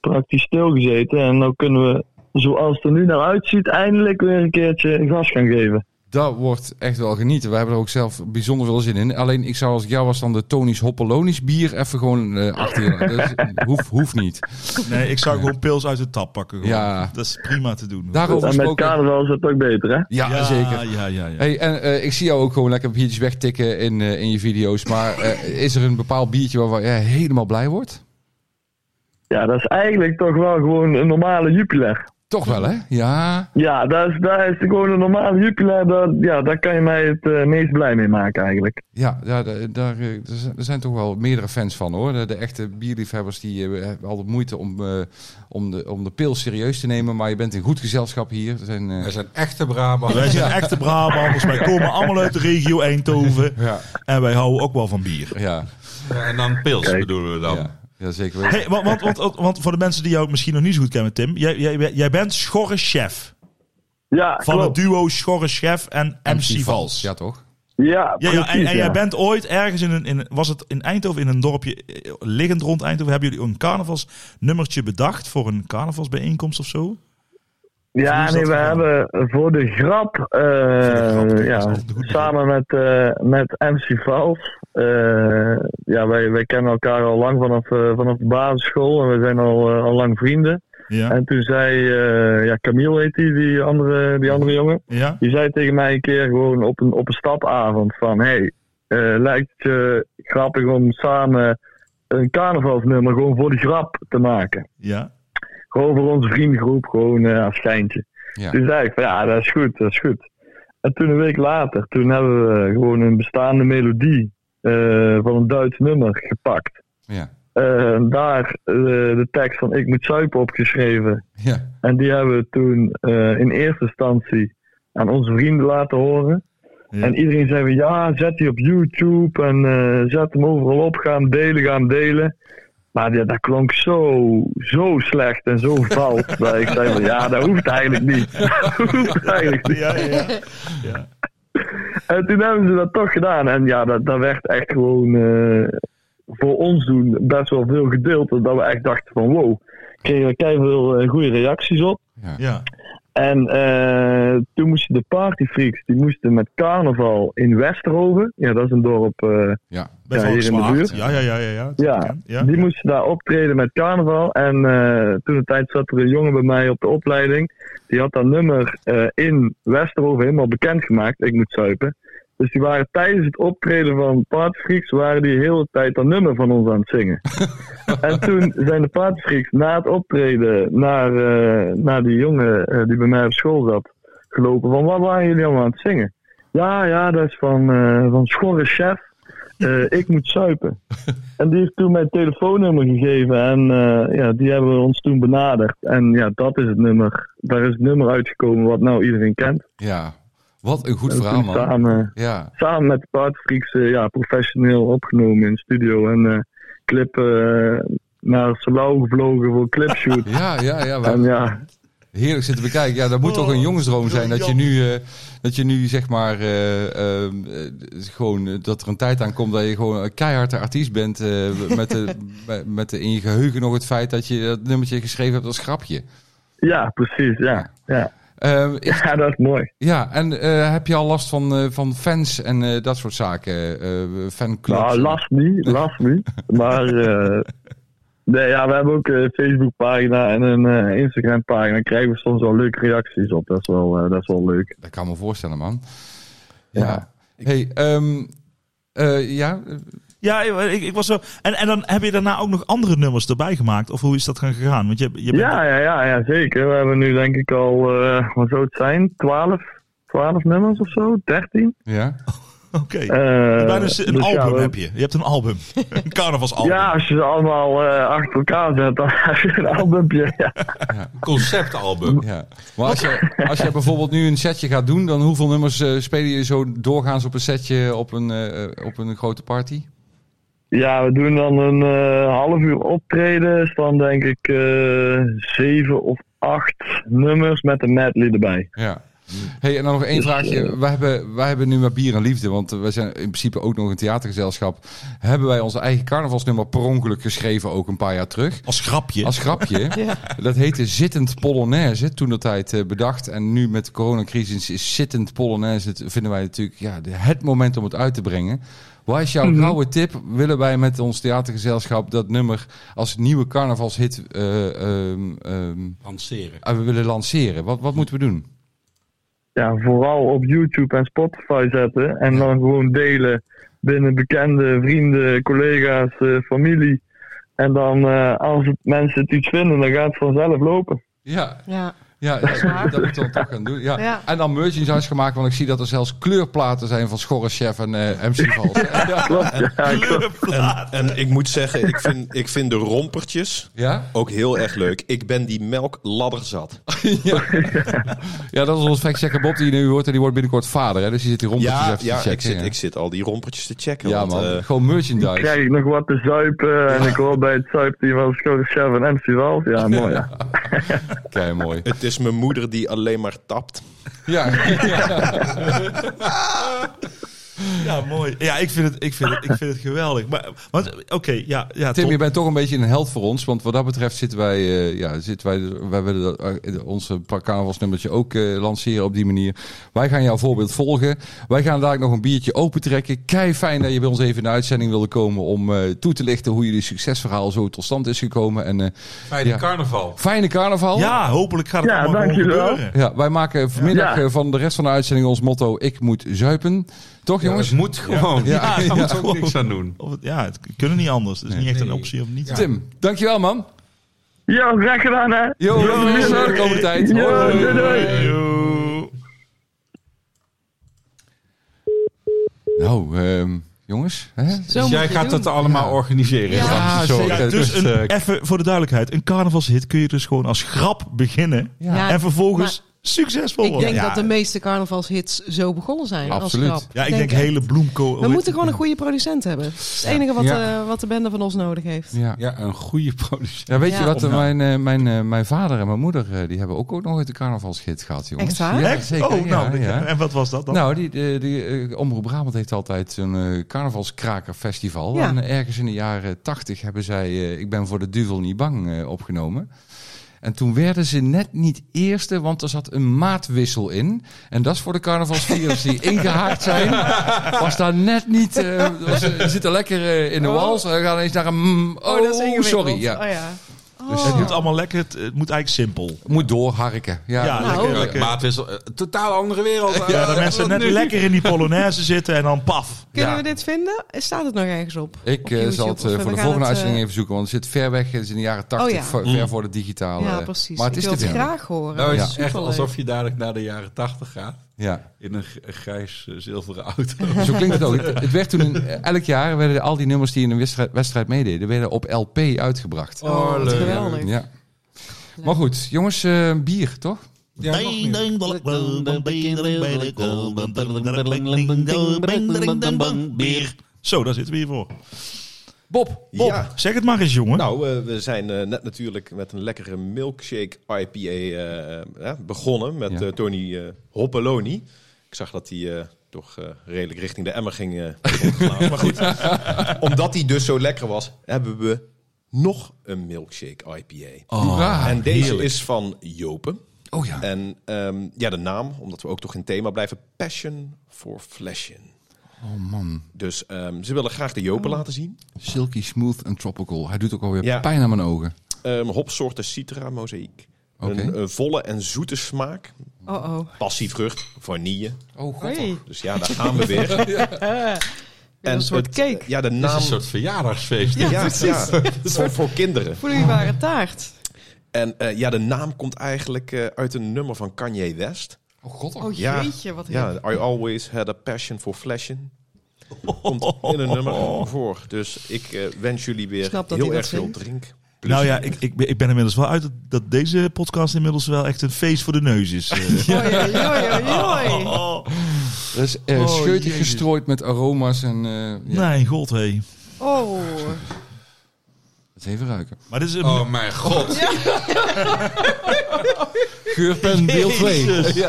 praktisch stilgezeten. En nu kunnen we, zoals het er nu naar uitziet, eindelijk weer een keertje gas gaan geven. Dat wordt echt wel genieten. We hebben er ook zelf bijzonder veel zin in. Alleen ik zou als ik jou was dan de Tonisch Hoppelonisch bier even gewoon eh, achter je... Dat is- hoeft, hoeft niet. Nee, ik zou gewoon pils uit de tap pakken. Gewoon. Ja. Nou, Dat is prima te doen. hoor. Daarover En met gesproken... carnaval is dat ook beter, hè? Ja, zeker. Ja, ja, ja. Hey, en eh, ik zie jou ook gewoon lekker biertjes wegtikken in, eh, in je video's. Maar eh, is er een bepaald biertje waarvan jij helemaal blij wordt? Ja, dat is eigenlijk toch wel gewoon een normale Jupiler. Toch wel, hè? Ja. Ja, dat is, dat is gewoon een normale Jupiler. Dat, ja, daar kan je mij het eh, meest blij mee maken eigenlijk. Ja, ja daar, daar, eh, er zijn- er zijn toch wel meerdere fans van hoor. De, de echte bierliefhebbers die eh, hebben altijd moeite om, eh, om, de, om de pil serieus te nemen. Maar je bent in goed gezelschap hier. Er zijn, eh, Wij zijn echte Brabant. Wij zijn echte Brabanders. Wij komen allemaal uit de regio Eindhoven. Ja. En wij houden ook wel van bier. ja, En dan pils bedoelen we dan. ja, ja, zeker weten. Hey, want, want, want, want- want voor de mensen die jou misschien nog niet zo goed kennen, Tim. Jij, jij, jij bent Schorre Chef. Ja, Van klopt. het duo Schorre Chef en MC Vals. Ja, toch? Ja, Ja, precies, ja, en, en ja. jij bent ooit ergens in, een, in was het in Eindhoven in een dorpje eh, liggend rond Eindhoven hebben jullie een carnavalsnummertje bedacht voor een carnavalsbijeenkomst of zo? Hoe Ja, is nee, dat we gegaan? hebben voor de grap, eh, grap, dat is ja, altijd een goed samen met, eh, met MC Vals. eh, ja, wij, wij kennen elkaar al lang vanaf, eh, vanaf de basisschool en we zijn al, eh, al lang vrienden. Ja. En toen zei, eh, ja, Camille heet die, die andere, die andere jongen. Ja. Die zei tegen mij een keer gewoon op een, op een stapavond van... Hey, eh, lijkt het je grappig om samen een carnavalsnummer gewoon voor de grap te maken? Ja. Gewoon voor onze vriendengroep, gewoon eh als schijntje. Ja. Toen zei ik van ja, dat is goed, dat is goed. En toen een week later, toen hebben we gewoon een bestaande melodie eh, van een Duits nummer gepakt. Ja. Eh, daar eh, de tekst van Ik moet zuipen opgeschreven. Ja. En die hebben we toen eh, in eerste instantie aan onze vrienden laten horen. Ja. En iedereen zei van ja, zet die op YouTube en eh, zet hem overal op, ga hem delen, ga hem delen. Maar ja, dat klonk zo, zo slecht en zo vals. dat ik zei van ja, dat hoeft eigenlijk niet. Dat hoeft eigenlijk niet. Ja, ja, ja. En toen hebben ze dat toch gedaan. En ja, dat, dat werd echt gewoon eh, voor ons doen best wel veel gedeeld. Dat we echt dachten van wow, kregen we keihard eh, goede reacties op. ja. En eh, toen moesten de partyfreaks, die moesten met carnaval in Westerhoven. Ja, dat is een dorp. eh, Ja. Bij Ja, hier in de Volkswagen. buurt. Ja, ja, ja, ja. ja. Dat Ja, ken- ja. die moesten daar optreden met carnaval. En eh, toen de tijd zat er een jongen bij mij op de opleiding. Die had dat nummer eh, in Westerhoven helemaal bekendgemaakt. Ik moet zuipen. Dus die waren tijdens het optreden van Paardfreaks... waren die de hele tijd dat nummer van ons aan het zingen. en toen zijn de Paardfreaks na het optreden... naar, eh, naar die jongen eh, die bij mij op school zat... gelopen van... wat waren jullie allemaal aan het zingen? Ja, ja, dat is van, eh van Schorre Chef. Eh, ik moet zuipen. En die heeft toen mijn telefoonnummer gegeven en eh, ja, die hebben we ons toen benaderd. En ja, dat is het nummer. Daar is het nummer uitgekomen wat nou iedereen kent. Ja. Wat een goed en verhaal, toen man. samen, Ja. samen met de Paardfreaks eh, ja, professioneel opgenomen in de studio. En eh, clip eh, naar Salau gevlogen voor clipshoot. Ja, ja, ja. we- en ja, heerlijk zitten bekijken. Ja, dat moet toch een jongensdroom zijn dat je nu, eh, dat je nu zeg maar eh, ehm, eh, gewoon eh, dat er een tijd aan komt dat je gewoon een keiharde artiest bent eh, met, de, met- met de, in je geheugen nog het feit dat je dat nummertje geschreven hebt als grapje. Ja, precies. Ja, ja. Ehm, is- ja dat is mooi. ja, en eh, heb je al last van, eh, van fans en eh, dat soort zaken? eh fanclubs? Nou, last niet, last niet. Maar eh, nee, ja, we hebben ook een Facebookpagina en een eh, Instagram-pagina. Daar krijgen we soms wel leuke reacties op. Dat is wel, eh, dat is wel leuk. Dat kan ik me voorstellen, man. Ja. Hey, ehm, eh, ja, Ja, ik, ik was zo. En, en dan heb je daarna ook nog andere nummers erbij gemaakt? Of hoe is dat gaan gegaan? Want je, je bent- Ja, ja, ja, ja, zeker. We hebben nu denk ik al, eh, wat zou het zijn, 12, 12 nummers of zo, 13. ja. Oké. Eh, Bijna een- een dus ja, album we- heb je. Je hebt een album. Een carnavalsalbum. Ja, als je ze allemaal eh, achter elkaar zet, dan heb je een albumpje. Ja. Conceptalbum. Ja. Maar als je, als je bijvoorbeeld nu een setje gaat doen, dan hoeveel nummers eh speel je zo doorgaans op een setje op een, eh, op een grote party? Ja, we doen dan een eh, half uur optreden. Is dan denk ik eh, zeven of acht nummers met een medley erbij. Ja. Hey, en dan nog één vraagje. Wij hebben, wij hebben nu maar bier en liefde, want eh, wij zijn in principe ook nog een theatergezelschap. Hebben wij onze eigen carnavalsnummer per ongeluk geschreven, ook een paar jaar terug? Als grapje. Als grapje. Dat heette Zittend Polonaise, toen dat tijd eh, bedacht. En nu met de coronacrisis is Zittend Polonaise, het- vinden wij natuurlijk ja, de- het moment om het uit te brengen. Wat is jouw gouden tip? Willen wij met ons theatergezelschap dat nummer als nieuwe carnavalshit eh, ehm, ehm, Lanceren. ah, we willen lanceren? Wat, wat moeten we doen? Ja, vooral op YouTube en Spotify zetten. En dan gewoon delen binnen bekende, vrienden, collega's, eh, familie. En dan eh, als het, mensen het iets vinden, dan gaat het vanzelf lopen. Ja, Ja. ja, ja, dat moeten we dan toch gaan doen. Ja. Ja. En dan merchandise gemaakt, want ik zie dat er zelfs kleurplaten zijn van Schorreschef en eh, MC Vals. Ja? Klopt, ja, klopt. Kleurplaat. En ik moet zeggen, ik vind, ik vind de rompertjes Ja? ook heel erg leuk. Ik ben die melkladder Oh, zat. Ja. ja, dat is ons factchecker Bob die je nu hoort. En die wordt binnenkort vader, hè? Dus die zit hier rond Ja, even ja te checken. ik, zit, hè? ik zit al die rompertjes te checken. ja, want, man. eh, Gewoon merchandise. Krijg ik nog wat te zuipen. En ik hoor bij het zuipteam van Schouder Chef en MC Wals. Ja, mooi. Ja. Kijk, mooi. het is mijn moeder die alleen maar tapt. Ja, Ja, mooi. Ja, ik vind het, ik vind het, ik vind het geweldig. Maar, want, oké, ja, ja. Tim, Tom. je bent toch een beetje een held voor ons. Want wat dat betreft zitten wij... eh, ja, zitten wij, wij willen dat, eh, onze carnavalsnummertje ook eh, lanceren op die manier. Wij gaan jouw voorbeeld volgen. Wij gaan dadelijk nog een biertje opentrekken. Kei fijn dat je bij ons even in de uitzending wilde komen... om eh, toe te lichten hoe jullie succesverhaal zo tot stand is gekomen. En eh, Fijne Ja. carnaval. fijne carnaval. Ja, hopelijk gaat het Ja, allemaal gewoon dankjewel. gebeuren. Ja, wij maken vanmiddag Ja. eh, van de rest van de uitzending ons motto: Ik moet zuipen. Toch, Ja, jongens? het moet gewoon. Ja, Ja, daar ja. moet ook niks aan doen. Of, het- ja, het kunnen niet anders. Het is niet echt een Nee. optie om niet te Tim, dankjewel, man. Yo, graag gedaan hè. Yo, Yo. we zien de komende tijd. Yo, Hoi. doei, doei. Yo. Nou, ehm, jongens. Hè? Zo Dus moet jij je gaat doen. dat allemaal organiseren. Ja. straks. zeker. Sorry. Ja, dus Dus, een, eh, even voor de duidelijkheid. Een carnavalshit kun je dus gewoon als grap beginnen. Ja, en vervolgens maar succesvol Ik worden. denk ja, dat de meeste carnavalshits zo begonnen zijn. Absoluut. Als grap. ja, ik denk, echt. hele bloemkool. We moeten gewoon een goede producent hebben. Dat is het enige wat, Ja. eh, wat de bende van ons nodig heeft. Ja. ja, een goede producent. Ja, weet je Ja. wat? eh, Of nou. Mijn, eh, mijn, eh, mijn vader en mijn moeder eh, die hebben ook, ook nog ooit een carnavalsgids gehad, jongens. Echt waar? Ja, Echt? zeker. oh, nou. ja, ja. En wat was dat dan? Nou, die, die, die eh, Omroep Brabant heeft altijd een eh, carnavalskrakerfestival. Ja. En eh, ergens in de jaren tachtig hebben zij eh, Ik ben voor de duivel niet bang eh, opgenomen. En toen werden ze net niet eerste, want er zat een maatwissel in. En dat is voor de carnavalsvierders die ingehaakt zijn. Was daar net niet... eh was, eh, zitten lekker eh, in de Oh. wals. We gaan eens naar een... mm, oh, sorry. Ja. Oh, ja. Dus Het het moet allemaal lekker. Het, het moet eigenlijk simpel. moet doorharken. Ja, Ja, Nou, lekker. ja, lekker. Maatwissel. eh, Totaal andere wereld. Ja, Eh, dat mensen wat net nu? lekker in die Polonaise zitten en dan paf. Kunnen Ja. we dit vinden? Staat het nog ergens op? Ik Op eh, YouTube zal het of eh, we voor de gaan volgende het, eh, uitzending even zoeken, want het zit ver weg. Het is in de jaren 80, Oh ja. ver, ver voor de digitale. eh, Ja, precies. Maar het ik is wil te het vinden. graag horen. Nou is Ja. het echt Superleuk. alsof je dadelijk naar de jaren tachtig gaat. Ja, In een g- grijs eh, zilveren auto. zo klinkt het ook. Het, het werd toen een- eh, elk jaar werden al die nummers die in een wedstrijd, wedstrijd meededen, werden op LP uitgebracht. Oh, wat geweldig. Ja. Maar goed, jongens, eh, bier toch? Ja, nog meer. Zo, daar zitten we hier voor. Bob, Bob, Ja. zeg het maar eens, jongen. Nou, eh, we zijn eh, net natuurlijk met een lekkere milkshake IPA eh, eh, begonnen met Ja. eh, Tony eh, Hoppeloni. Ik zag dat hij eh, toch eh, redelijk richting de emmer ging. eh, opgelaten. maar goed, omdat hij dus zo lekker was, hebben we nog een milkshake IPA. Oh. hoera. en deze is van Jopen. oh ja. En ehm, ja, de naam, omdat we ook toch in thema blijven, Passion for Flashing. Oh man. Oh. Dus ehm, ze willen graag de Jopen laten zien. Silky, smooth en tropical. Hij doet ook alweer Ja. pijn aan mijn ogen. Ehm, hopsoorten Citra mozaïek. Oké. Een, eh, volle en zoete smaak. Oh oh. Passievrucht, vanille. Oh god. Hoi. Dus ja, daar gaan we weer. En een soort het- cake. Ja, de Het is naam. een soort verjaardagsfeest. Ja, ja, precies. ja, voor, voor kinderen. Vloeibare taart. En eh, ja, de naam komt eigenlijk eh, uit een nummer van Kanye West. Oh god. Oh Ja. jeetje, wat Ja, hip. I always had a passion for flashing. Komt in een nummer voor. Dus ik eh, wens jullie weer Snap dat heel hij dat erg veel vindt. drink. Nou ja, ik, ik, ben- ik ben inmiddels wel uit dat, dat deze podcast inmiddels wel echt een feest voor de neus is. Eh, Oei, oei, oei, oei. Dat is eh Oh, scheutig jezus. gestrooid met aroma's en... eh, ja. Nee, god hé. Oh. Dat is even ruiken. Maar dit is een... Oh mijn god. Geurpen deel 2. Jezus.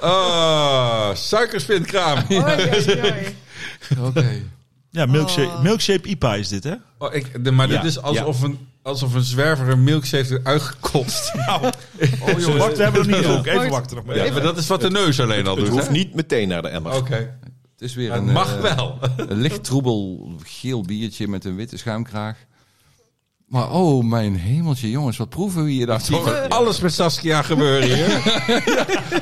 Ah, suikerspinkraam. Oei, oei, oei. Oké. Ja, milkshake, Oh. milkshake IPA is dit, hè? Oh, ik, de- maar Ja, dit is alsof, een, alsof een zwerver een milkshake heeft uitgekotst. Oh, Wacht, we hebben hem niet ook. Even Wacht. wachten nog maar. Ja, maar dat is wat de neus alleen al Het doet. hoeft hè? niet meteen naar de emmer. Oké. Het is weer Maar een, het mag eh, wel. een licht troebel geel biertje met een witte schuimkraag. Maar oh mijn hemeltje jongens, wat proeven we hier daar toch? Ziet alles met Saskia gebeuren hier.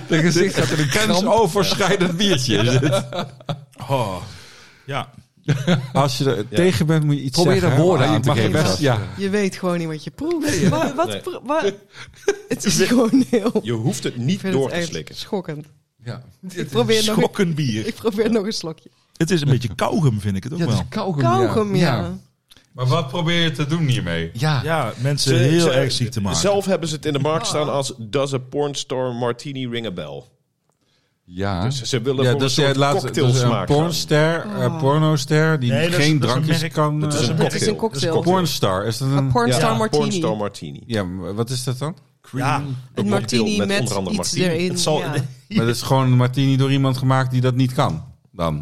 De gezicht gaat er een kramp. Grensoverschrijdend biertje. is dit. Ja. Als je er tegen bent, moet je iets Probeer zeggen. er hè, woorden maar aan te je mag geven, best- Sas. ja. Je weet gewoon niet wat je proeft. Wat, wat, Nee. pro- wat- Het is gewoon heel... Je hoeft het Ik niet vind door het te echt slikken. schokkend. Ja. Ik probeer, nog, een- Schokkend bier. ik probeer nog een slokje. Het is een beetje kauwgum, vind ik het ook Ja, het wel. is kauwgum. Kauwgum, ja. Ja. Maar wat probeer je te doen hiermee? Ja. Ja, mensen Ze- heel ze- erg ziek te maken. Zelf hebben ze het in de markt staan als Does a Pornstar Martini Ring a Bell? Ja. Dus ze willen Ja, voor dus een jij soort laat cocktail dus een smaak gaan. pornster, eh, pornoster die Nee, dat is- geen dat is een drankjes merk. kan... Dat is eh, een Dat cocktail. is een cocktail. Dat is pornstar, is dat Een een... pornstar Ja, martini. Pornstar Martini. Ja, maar wat is dat dan? Ja, Een martini cocktail met, met onder andere iets martini. erin. het zal... ja. Maar dat is gewoon een martini door iemand gemaakt die dat niet kan. Dan.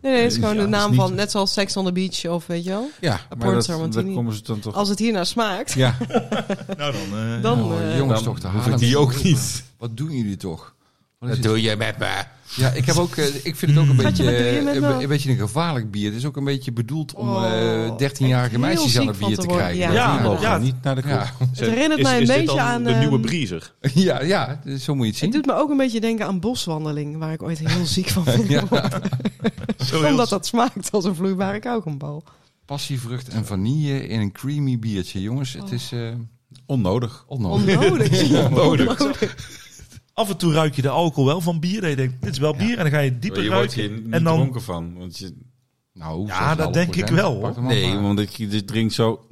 Nee, nee, het is gewoon Ja, de dat is naam niet- van... Net zoals Sex on the Beach of weet je wel. Ja, maar dat, pornstar daar martini. komen ze dan toch... Als het hiernaar smaakt, Ja, Nou dan... eh, dan... Oh, eh, jongens, dan toch te hoef ik halen. die ook niet. Wat doen jullie toch? Wat is dat het? doe je met me. Hmm. Ja, ik, heb ook, eh, ik vind het ook een Schatje, beetje, wat doe je met eh, een, me? be- een beetje een gevaarlijk bier. Het is ook een beetje bedoeld om Oh, eh echt 13-jarige heel meisjes aan ziek het van bier te te worden. Ja. krijgen. Ja, Die mogen ja. niet naar de kroeg. Ja. Het herinnert mij een is dit beetje dan aan, de ehm, nieuwe Briezer. Ja, ja, zo moet je het Het zien. doet me ook een beetje denken aan boswandeling, waar ik ooit heel ziek van ben geworden. zo heel- Omdat dat smaakt als een vloeibare kauwgombal. Passievrucht en vanille in een creamy biertje. Jongens, het is eh Onnodig. onnodig. Onnodig. Onnodig. Af en toe ruik je de alcohol wel van bier. En je denkt, dit is wel bier. En dan ga je dieper Maar je wordt ruiken. hier niet en dan... dronken van. Want je, Nou, Ja, zoals dat alle denk ik problemen. wel, hoor. Pak hem af, nee, maar. want ik je drink zo...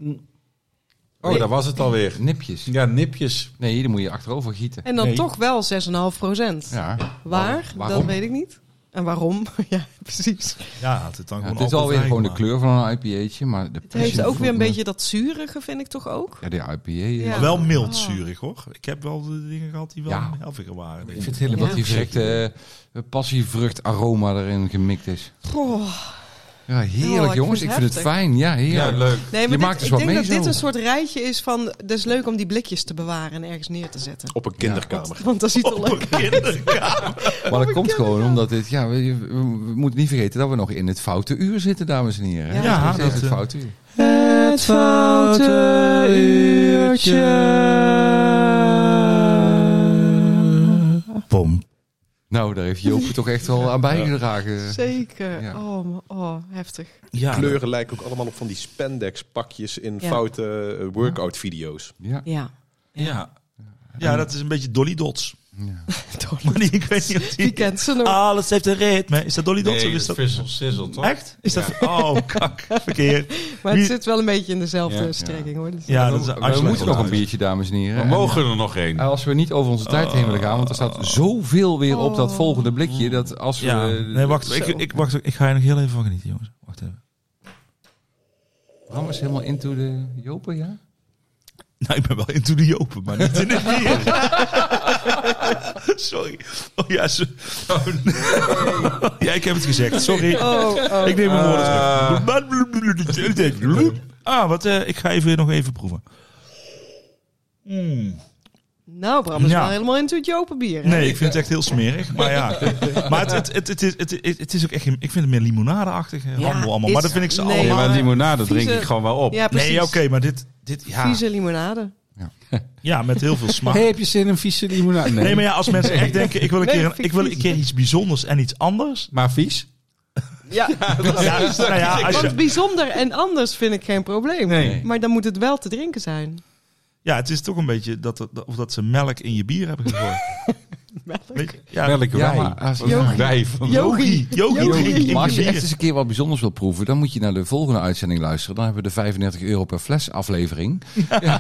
Oh, daar was het alweer. Nipjes. Ja, nipjes. Nee, die moet je achterover gieten. En dan Nee. toch wel 6,5 procent. Ja. Waar, dat Waarom? weet ik niet. En waarom? ja, precies. Ja, het is dan Ja, gewoon het is alweer alcoholvrij gewoon de gemaakt. kleur van een IPA'tje, maar de Het heeft ook weer een passionvrucht- beetje dat zurige, vind ik toch ook? Ja, de IPA. eh, Ja. Maar Wel mild zurig, hoor. Ik heb wel de dingen gehad die wel Ja. helviger waren. Ik vind het helemaal Ja. die verrekte eh, passievrucht aroma erin gemikt is. Goh. Ja, Ja, Oh, ik heerlijk vind jongens. het Ik vind het heftig. fijn. Ja, Ja, heerlijk. leuk. Nee, maar Je dit- maakt dus ik wat denk mee dat dit zo. een soort rijtje is van... Het is leuk om die blikjes te bewaren en ergens neer te zetten. Op een kinderkamer. Want dat ziet er Oh, leuk uit. Maar dat komt gewoon omdat dit, ja, we, we- we moeten niet vergeten dat we nog in het foute uur zitten, dames en heren. Ja, Het is dat, het eh, foute uur. Het foute uurtje. Pom. Nou, daar heeft Joop er toch echt wel aan bijgedragen. Zeker. Ja. Oh, ma- oh, heftig. Ja, Kleuren lijken ook allemaal op van die spandex pakjes in Ja. foute eh, workout video's. Ja. Ja. Ja. ja, dat is een beetje Dolly Dots. ja. Maar die, ik weet niet of Wie die... Ah, kent ze nog? Alles heeft een ritme. Is dat Dolly Dots Nee, of is dat dat... is sizzle, toch? Echt? Is dat... Oh, kak. Verkeerd. Maar het Wie- zit wel een beetje in dezelfde Ja. strekking, hoor. Dus- Ja, dat is We Iceland. moeten nog een biertje, dames en heren. We En- mogen Oh, er nog één. en als we niet over onze tijd heen willen gaan, want er staat zoveel weer op Oh. dat volgende blikje, dat als we... Ja. Nee, wacht. Zo. Ik, ik, wacht. Ik ga er nog heel even van genieten, jongens. Wacht even. Bram is helemaal into de Jopen, ja? Nou, ik ben wel into de Jopen, maar niet in het bier. Sorry. Oh ja, zo- oh, nee. ja, ik heb het gezegd. Sorry. Oh, Ik neem mijn woorden terug. Ah, wat, eh, ik ga even, nog even proeven. Mm. Nou, Bram is Ja. wel helemaal into het jopenbier. hè? Nee, ik vind het echt heel smerig. Maar ja, maar het, het, het, het, is- het, het, het is ook echt... geen- Ik vind het meer limonadeachtig. eh, Ja, handel allemaal. Maar is- dat vind ik ze nee, allemaal. Nee, maar maar limonade drink vieze- ik gewoon wel op. Ja, precies. Nee, oké, maar dit... dit ja, Vieze limonade. ja, met heel veel smaak. Hey, heb je zin in een vieze limonade? Nee, Nee, maar ja, als mensen echt denken, ik wil een, Nee, keer, een- vind ik ik wil een vies. keer iets bijzonders en iets anders. maar vies? Ja, Ja, nou ja, als want je, bijzonder en anders vind ik geen probleem. Nee. Maar dan moet het wel te drinken zijn. ja, het is toch een beetje dat, dat- of dat ze melk in je bier hebben gegooid. Weet je? Ja, Melk Ja, wij. maar als- Wat een Jogi. wij van Yogi. Yogi. drink in Maar als je je echt bier. eens een keer wat bijzonders wilt proeven, dan moet je naar de volgende uitzending luisteren. Dan hebben we de 35 euro per fles aflevering. Ja.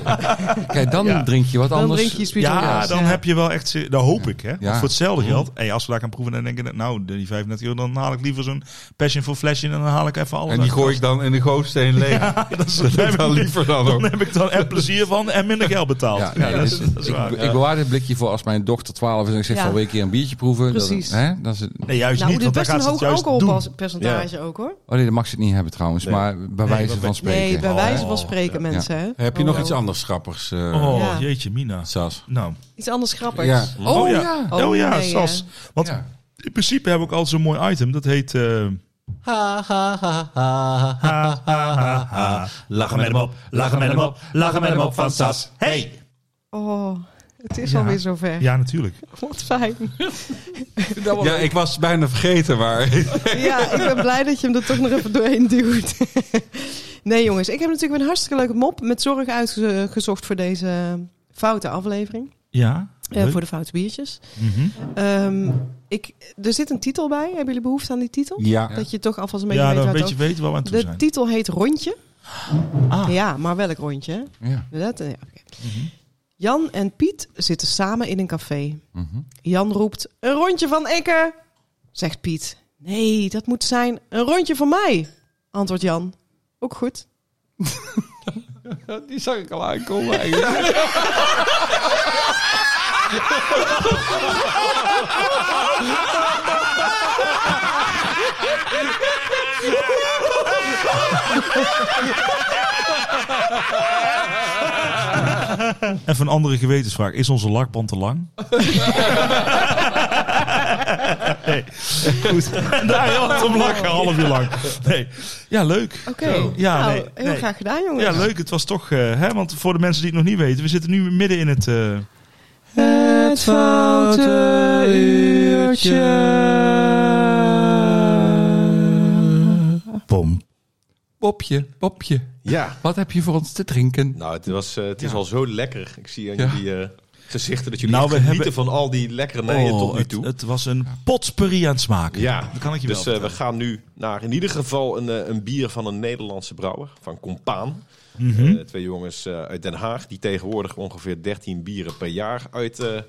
Kijk, dan Ja. drink je wat Dan anders. drink je spiritueel. Ja, dan heb je wel echt... ze- Dat hoop ik, hè. Ja. Want Voor hetzelfde Mm. geld. Hey, als we daar gaan proeven, dan denk ik... Nou, die 35 euro, dan haal ik liever zo'n Passion for Flash in... en dan haal ik even alles En die uit. gooi ik dan in de gootsteen leeg. dat is Dat doe ik heb dan ik- liever dan ook. Dan heb ik dan en plezier van en minder geld betaald. Ja, Ja, nee, dat, is, dus dat is waar. Ik, ja. ik bewaar dit blikje voor als mijn dochter 12 is en ik zeg Ja. van wil je een keer een biertje proeven. Precies. Dat, hè? Dat is, nee, juist nou, niet, dit is want dan best een gaat ze het hoog juist doen. alcoholpercentage ook hoor. oh nee, dat mag ze het niet hebben trouwens, maar bij wijze wat van ben- spreken. Nee, bij wijze van Oh. spreken mensen. Hè? Heb je nog Oh. iets anders grappigs, eh, Oh, Ja. jeetje, Mina. Sas? Nou, Iets anders grappigs. Ja. Oh, Oh, ja. ja. Oh, Oh, ja, nee, Sas. Want Ja. in principe heb ik al zo'n mooi item. Dat heet... eh, Lachen met hem op, lachen met hem op, lachen met hem op van Sas. Hey! Oh, het is Ja. alweer zover. ja, natuurlijk. Wat fijn. Ja, Oh, ik was bijna vergeten, maar... Ja, ik ben blij dat je hem er toch nog even doorheen duwt. Nee jongens, ik heb natuurlijk weer een hartstikke leuke mop met zorg uitgezocht voor deze foute aflevering. Ja. Eh, leuk. voor de foute biertjes. Mhm. Ehm, ik, er zit een titel bij. Hebben jullie behoefte aan die titel? Ja. Dat je toch alvast een beetje Ja, weet dan waar een het beetje weten waar we aan toe over- De zijn. titel heet Rondje. Ah. Ja, maar welk rondje? hè? Ja. Dat, eh, ja, oké. Mhm. Jan en Piet zitten samen in een café. Mhm. Jan roept: Een rondje van Ikke, zegt Piet. Nee, dat moet zijn een rondje van mij, antwoordt Jan. Ook goed. Die zag ik al aankomen eigenlijk. Even een andere gewetensvraag. Is onze lakband te lang? nee. Goed. Daar heel hard om lachen, een half uur lang. Nee. Ja, leuk. Oké, Ja, nou, nee, heel nee. graag gedaan, jongens. Ja, leuk. Het was toch... eh, hè, want voor de mensen die het nog niet weten. We zitten nu midden in het... eh, Het foute uurtje. pom. Popje, popje, Ja. wat heb je voor ons te drinken? Nou, het, was, eh, het is al zo lekker. Ik zie aan Ja. jullie eh, gezichten dat jullie Nou, echt we genieten hebben- van al die lekkernijen Oh, tot nu het, toe. het was een potpourri aan het smaken. ja, Dat kan ik je dus wel eh, we gaan nu naar in ieder geval een, eh, een bier van een Nederlandse brouwer, van Compaan. Eh, twee jongens eh, uit Den Haag, die tegenwoordig ongeveer 13 bieren per jaar uitbrengen.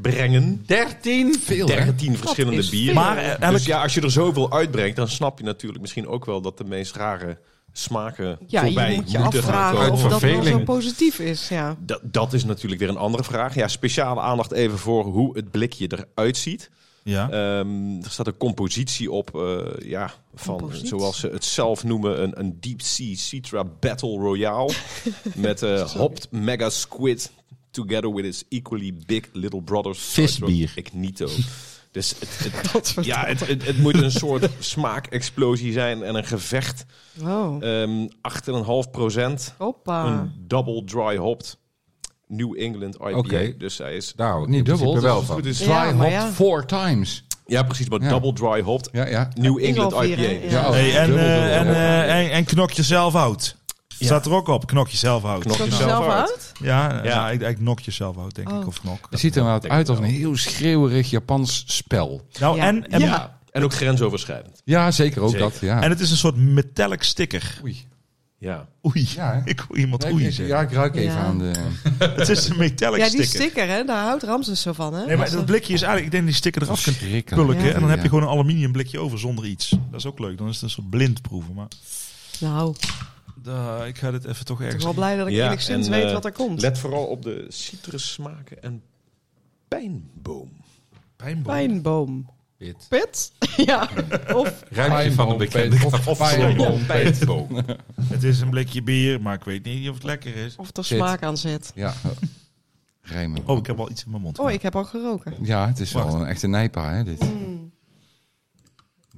brengen. 13? Veel hè? 13 verschillende is bieren. veel. Maar, eh, elk- Dus ja, als je er zoveel uitbrengt, dan snap je natuurlijk misschien ook wel dat de meest rare smaken Ja, voorbij je moet je moeten gaan afvragen komen. of dat wel verveling. zo positief is. Ja. Dat, dat is natuurlijk weer een andere vraag. Ja, speciale aandacht even voor hoe het blikje eruit ziet. Ja. Ehm, er staat een compositie op, eh, ja, van Compositie. zoals ze het zelf noemen, een, een Deep Sea Citra Battle Royale. met eh Hopped Mega Squid together with its equally big little brother. Visbier. Ignito. Dus het, het, ja, het, het, het moet een soort smaakexplosie zijn en een gevecht. Wow. Ehm 8,5 procent. Oh, Hoppa. Een double dry hopped New England IPA. Oké. Dus hij is... Daar hou ik Niet Nou, in principe dubbel, wel dat Dry van. Ja, maar hopped ja. four times. Ja, precies, maar Ja. double dry hopped Ja, ja. New Is al England vier, IPA. hè? Dus Ja. Ja, oh, Hey, en, dubbel, eh, dubbel, en, ja. eh, en, en knok jezelf uit. Staat er ook op, knok jezelf uit. knok Komt jezelf jezelf uit. uit? Ja, Ja. ja. Ik, ik knok jezelf uit, denk ik. Oh. Of knok. Het ziet er wel uit als een heel schreeuwerig Japans spel. Nou, Ja. en, en, Ja, en ook grensoverschrijdend. Ja, zeker ook Zeker. dat. Ja. en het is een soort metallic sticker. Oei. Ja. Oei, Ja, hè? ik hoor iemand Nee, oei ik- zeggen. ja, ik ruik even Ja. aan de... Het is een metallic Ja, die sticker. sticker, hè, daar houdt Ramses zo van. Hè? Nee, maar dat blikje is eigenlijk... Ik denk dat die sticker eraf kunt Schrikkelijk. pulken. Ja. En dan heb je Ja. gewoon een aluminium blikje over zonder iets. Dat is ook leuk. Dan is het een soort blind proeven. Maar... Nou, ik Da, ik ga dit even toch ben ergens... wel blij dat ik Ja, enigszins en, weet eh, wat er komt. Let vooral op de citrussmaken en pijnboom. Pijnboom. Pijnboom. Pit. Pit? ja. Of Ruimpje van een bekende Pijnboom, Pet, of Pijnboom, Pet. Het is een blikje bier, maar ik weet niet of het lekker is. Of er Zit. smaak aan zit. Ja, eh, rijmen. Oh, ik heb al iets in mijn mond. Oh, ik heb ook geroken. Ja, het is Wacht. wel een echte nijpa, hè, dit. Mm.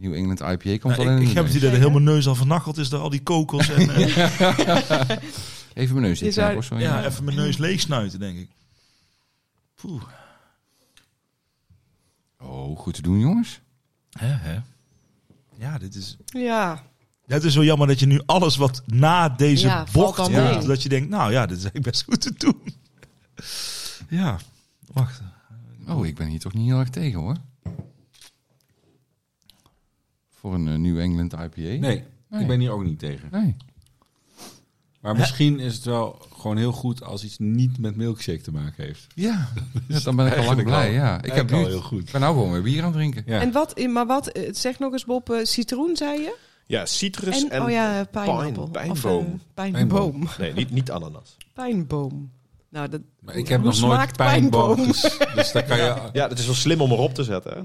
New England IPA komt Nou, al in. ik, ik heb het idee dat heel mijn neus al vernacheld is door al die kokos. En, eh, Even mijn neus Je dicht zou- hoor, sorry. ja, even mijn neus leeg snuiten, denk ik. Poeh. Oh, goed te doen, jongens. Hè, hè. Ja, dit is... Ja. Het is zo jammer dat je nu alles wat na deze Ja, valt bocht... dan Ja. mee. Dat je denkt, nou ja, dit is eigenlijk best goed te doen. Ja, wacht. Oh, ik ben hier toch niet heel erg tegen, hoor. Voor een eh, New England IPA? Nee, Nee. ik ben hier ook niet tegen. Nee. Maar misschien is het wel gewoon heel goed als iets niet met milkshake te maken heeft. Ja, ja, dan ben ik al lang Eigenlijk blij. al. ja. Ik heb Eigenlijk nu, al heel goed. Ik ben nou gewoon weer bier aan het drinken. Ja. En wat, maar wat, eh, zeg nog eens Bob, eh, citroen zei je? Ja, citrus En, Dus en, oh ja, pijnappel. pijn- Of, eh, pijnboom. pijnboom. Nee, niet, niet ananas. Pijnboom. Nou, dat, Maar ik heb Hoe nog nooit smaakt pijnboom. pijnboom? Dus, dus daar kan je... Ja, het is wel slim om erop te zetten. Hè?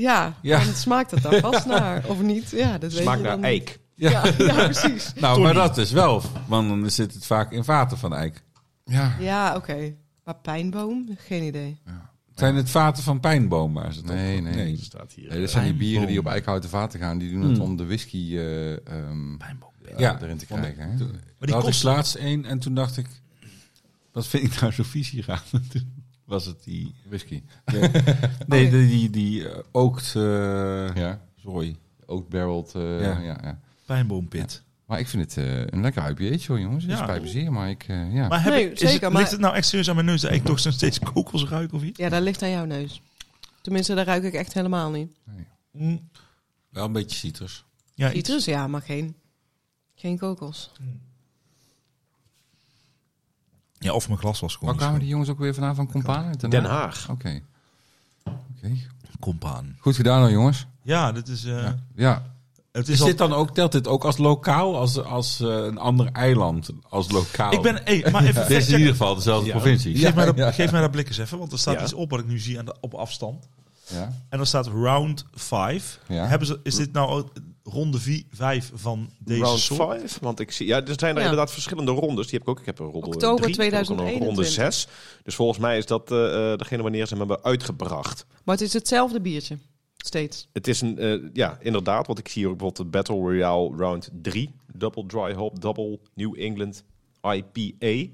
ja, Ja. dan smaakt het dan vast naar, of niet? Ja, dat weet Smaakt je naar dan niet. eik. Ja, ja, precies. Nou, maar dat is wel. Want dan zit het vaak in vaten van eik. Ja. Ja, oké. Maar pijnboom? Geen idee. Zijn het vaten van pijnboom? Waar ze Nee, nee. Staat hier. Nee, dat zijn die bieren die op eikenhouten vaten gaan. Die doen het om de whisky eh, ehm, eh, Hmm. Ja. erin te krijgen. Hè? Toen- Maar die had kost- ik laatst één en toen dacht ik... Wat vind ik nou zo vies hier aan? Toen was het die... Whisky. Nee, nee die, die, die eh, ookt... eh, Ja. Sorry. Oak barreled. eh, Ja. Ja, ja. Pijnboompit. Maar ik vind het eh, een lekker IPA'tje hoor, jongens. Het Ja. spijt me zeer, maar ik... eh, ja. Maar heb Nee, ik, is zeker, het, maar- ligt het nou echt serieus aan mijn neus dat ik toch nog steeds kokos ruik of iets? Ja, dat ligt aan jouw neus. Tenminste, daar ruik ik echt helemaal niet. Mm, Wel een beetje citrus. Ja, iets. Citrus, ja, maar geen, geen kokos. ja, of mijn glas was gewoon Waar niet kwamen die jongens ook weer vanavond van Compaan? uit Den Haag. Oké. Oké. zo- Compaan. Goed gedaan hoor, jongens. Ja, dit is... eh, Ja. het is Is al, dit dan ook, telt dit ook als lokaal, als, als eh, een ander eiland, als lokaal? ik ben... Hey, maar even Dit is in factchecken. ieder geval dezelfde provincie. Geef, mij dat, geef mij dat blik eens even, want er staat Ja. iets op wat ik nu zie aan de, op afstand. Ja. En dan staat round 5. Ja. Hebben ze, is dit nou ook ronde 5 van deze Round soort? 5, want ik zie, ja, er zijn er Ja. inderdaad verschillende rondes. Die heb ik ook. Ik heb een ronde Oktober drie, ik heb ook nog een ronde 2021. 6. Dus volgens mij is dat eh, eh, degene wanneer ze hem hebben uitgebracht. Maar het is hetzelfde biertje. Steeds. Het is een, eh, ja, inderdaad, want ik zie hier bijvoorbeeld de Battle Royale Round 3. Double Dry Hop, Double New England IPA.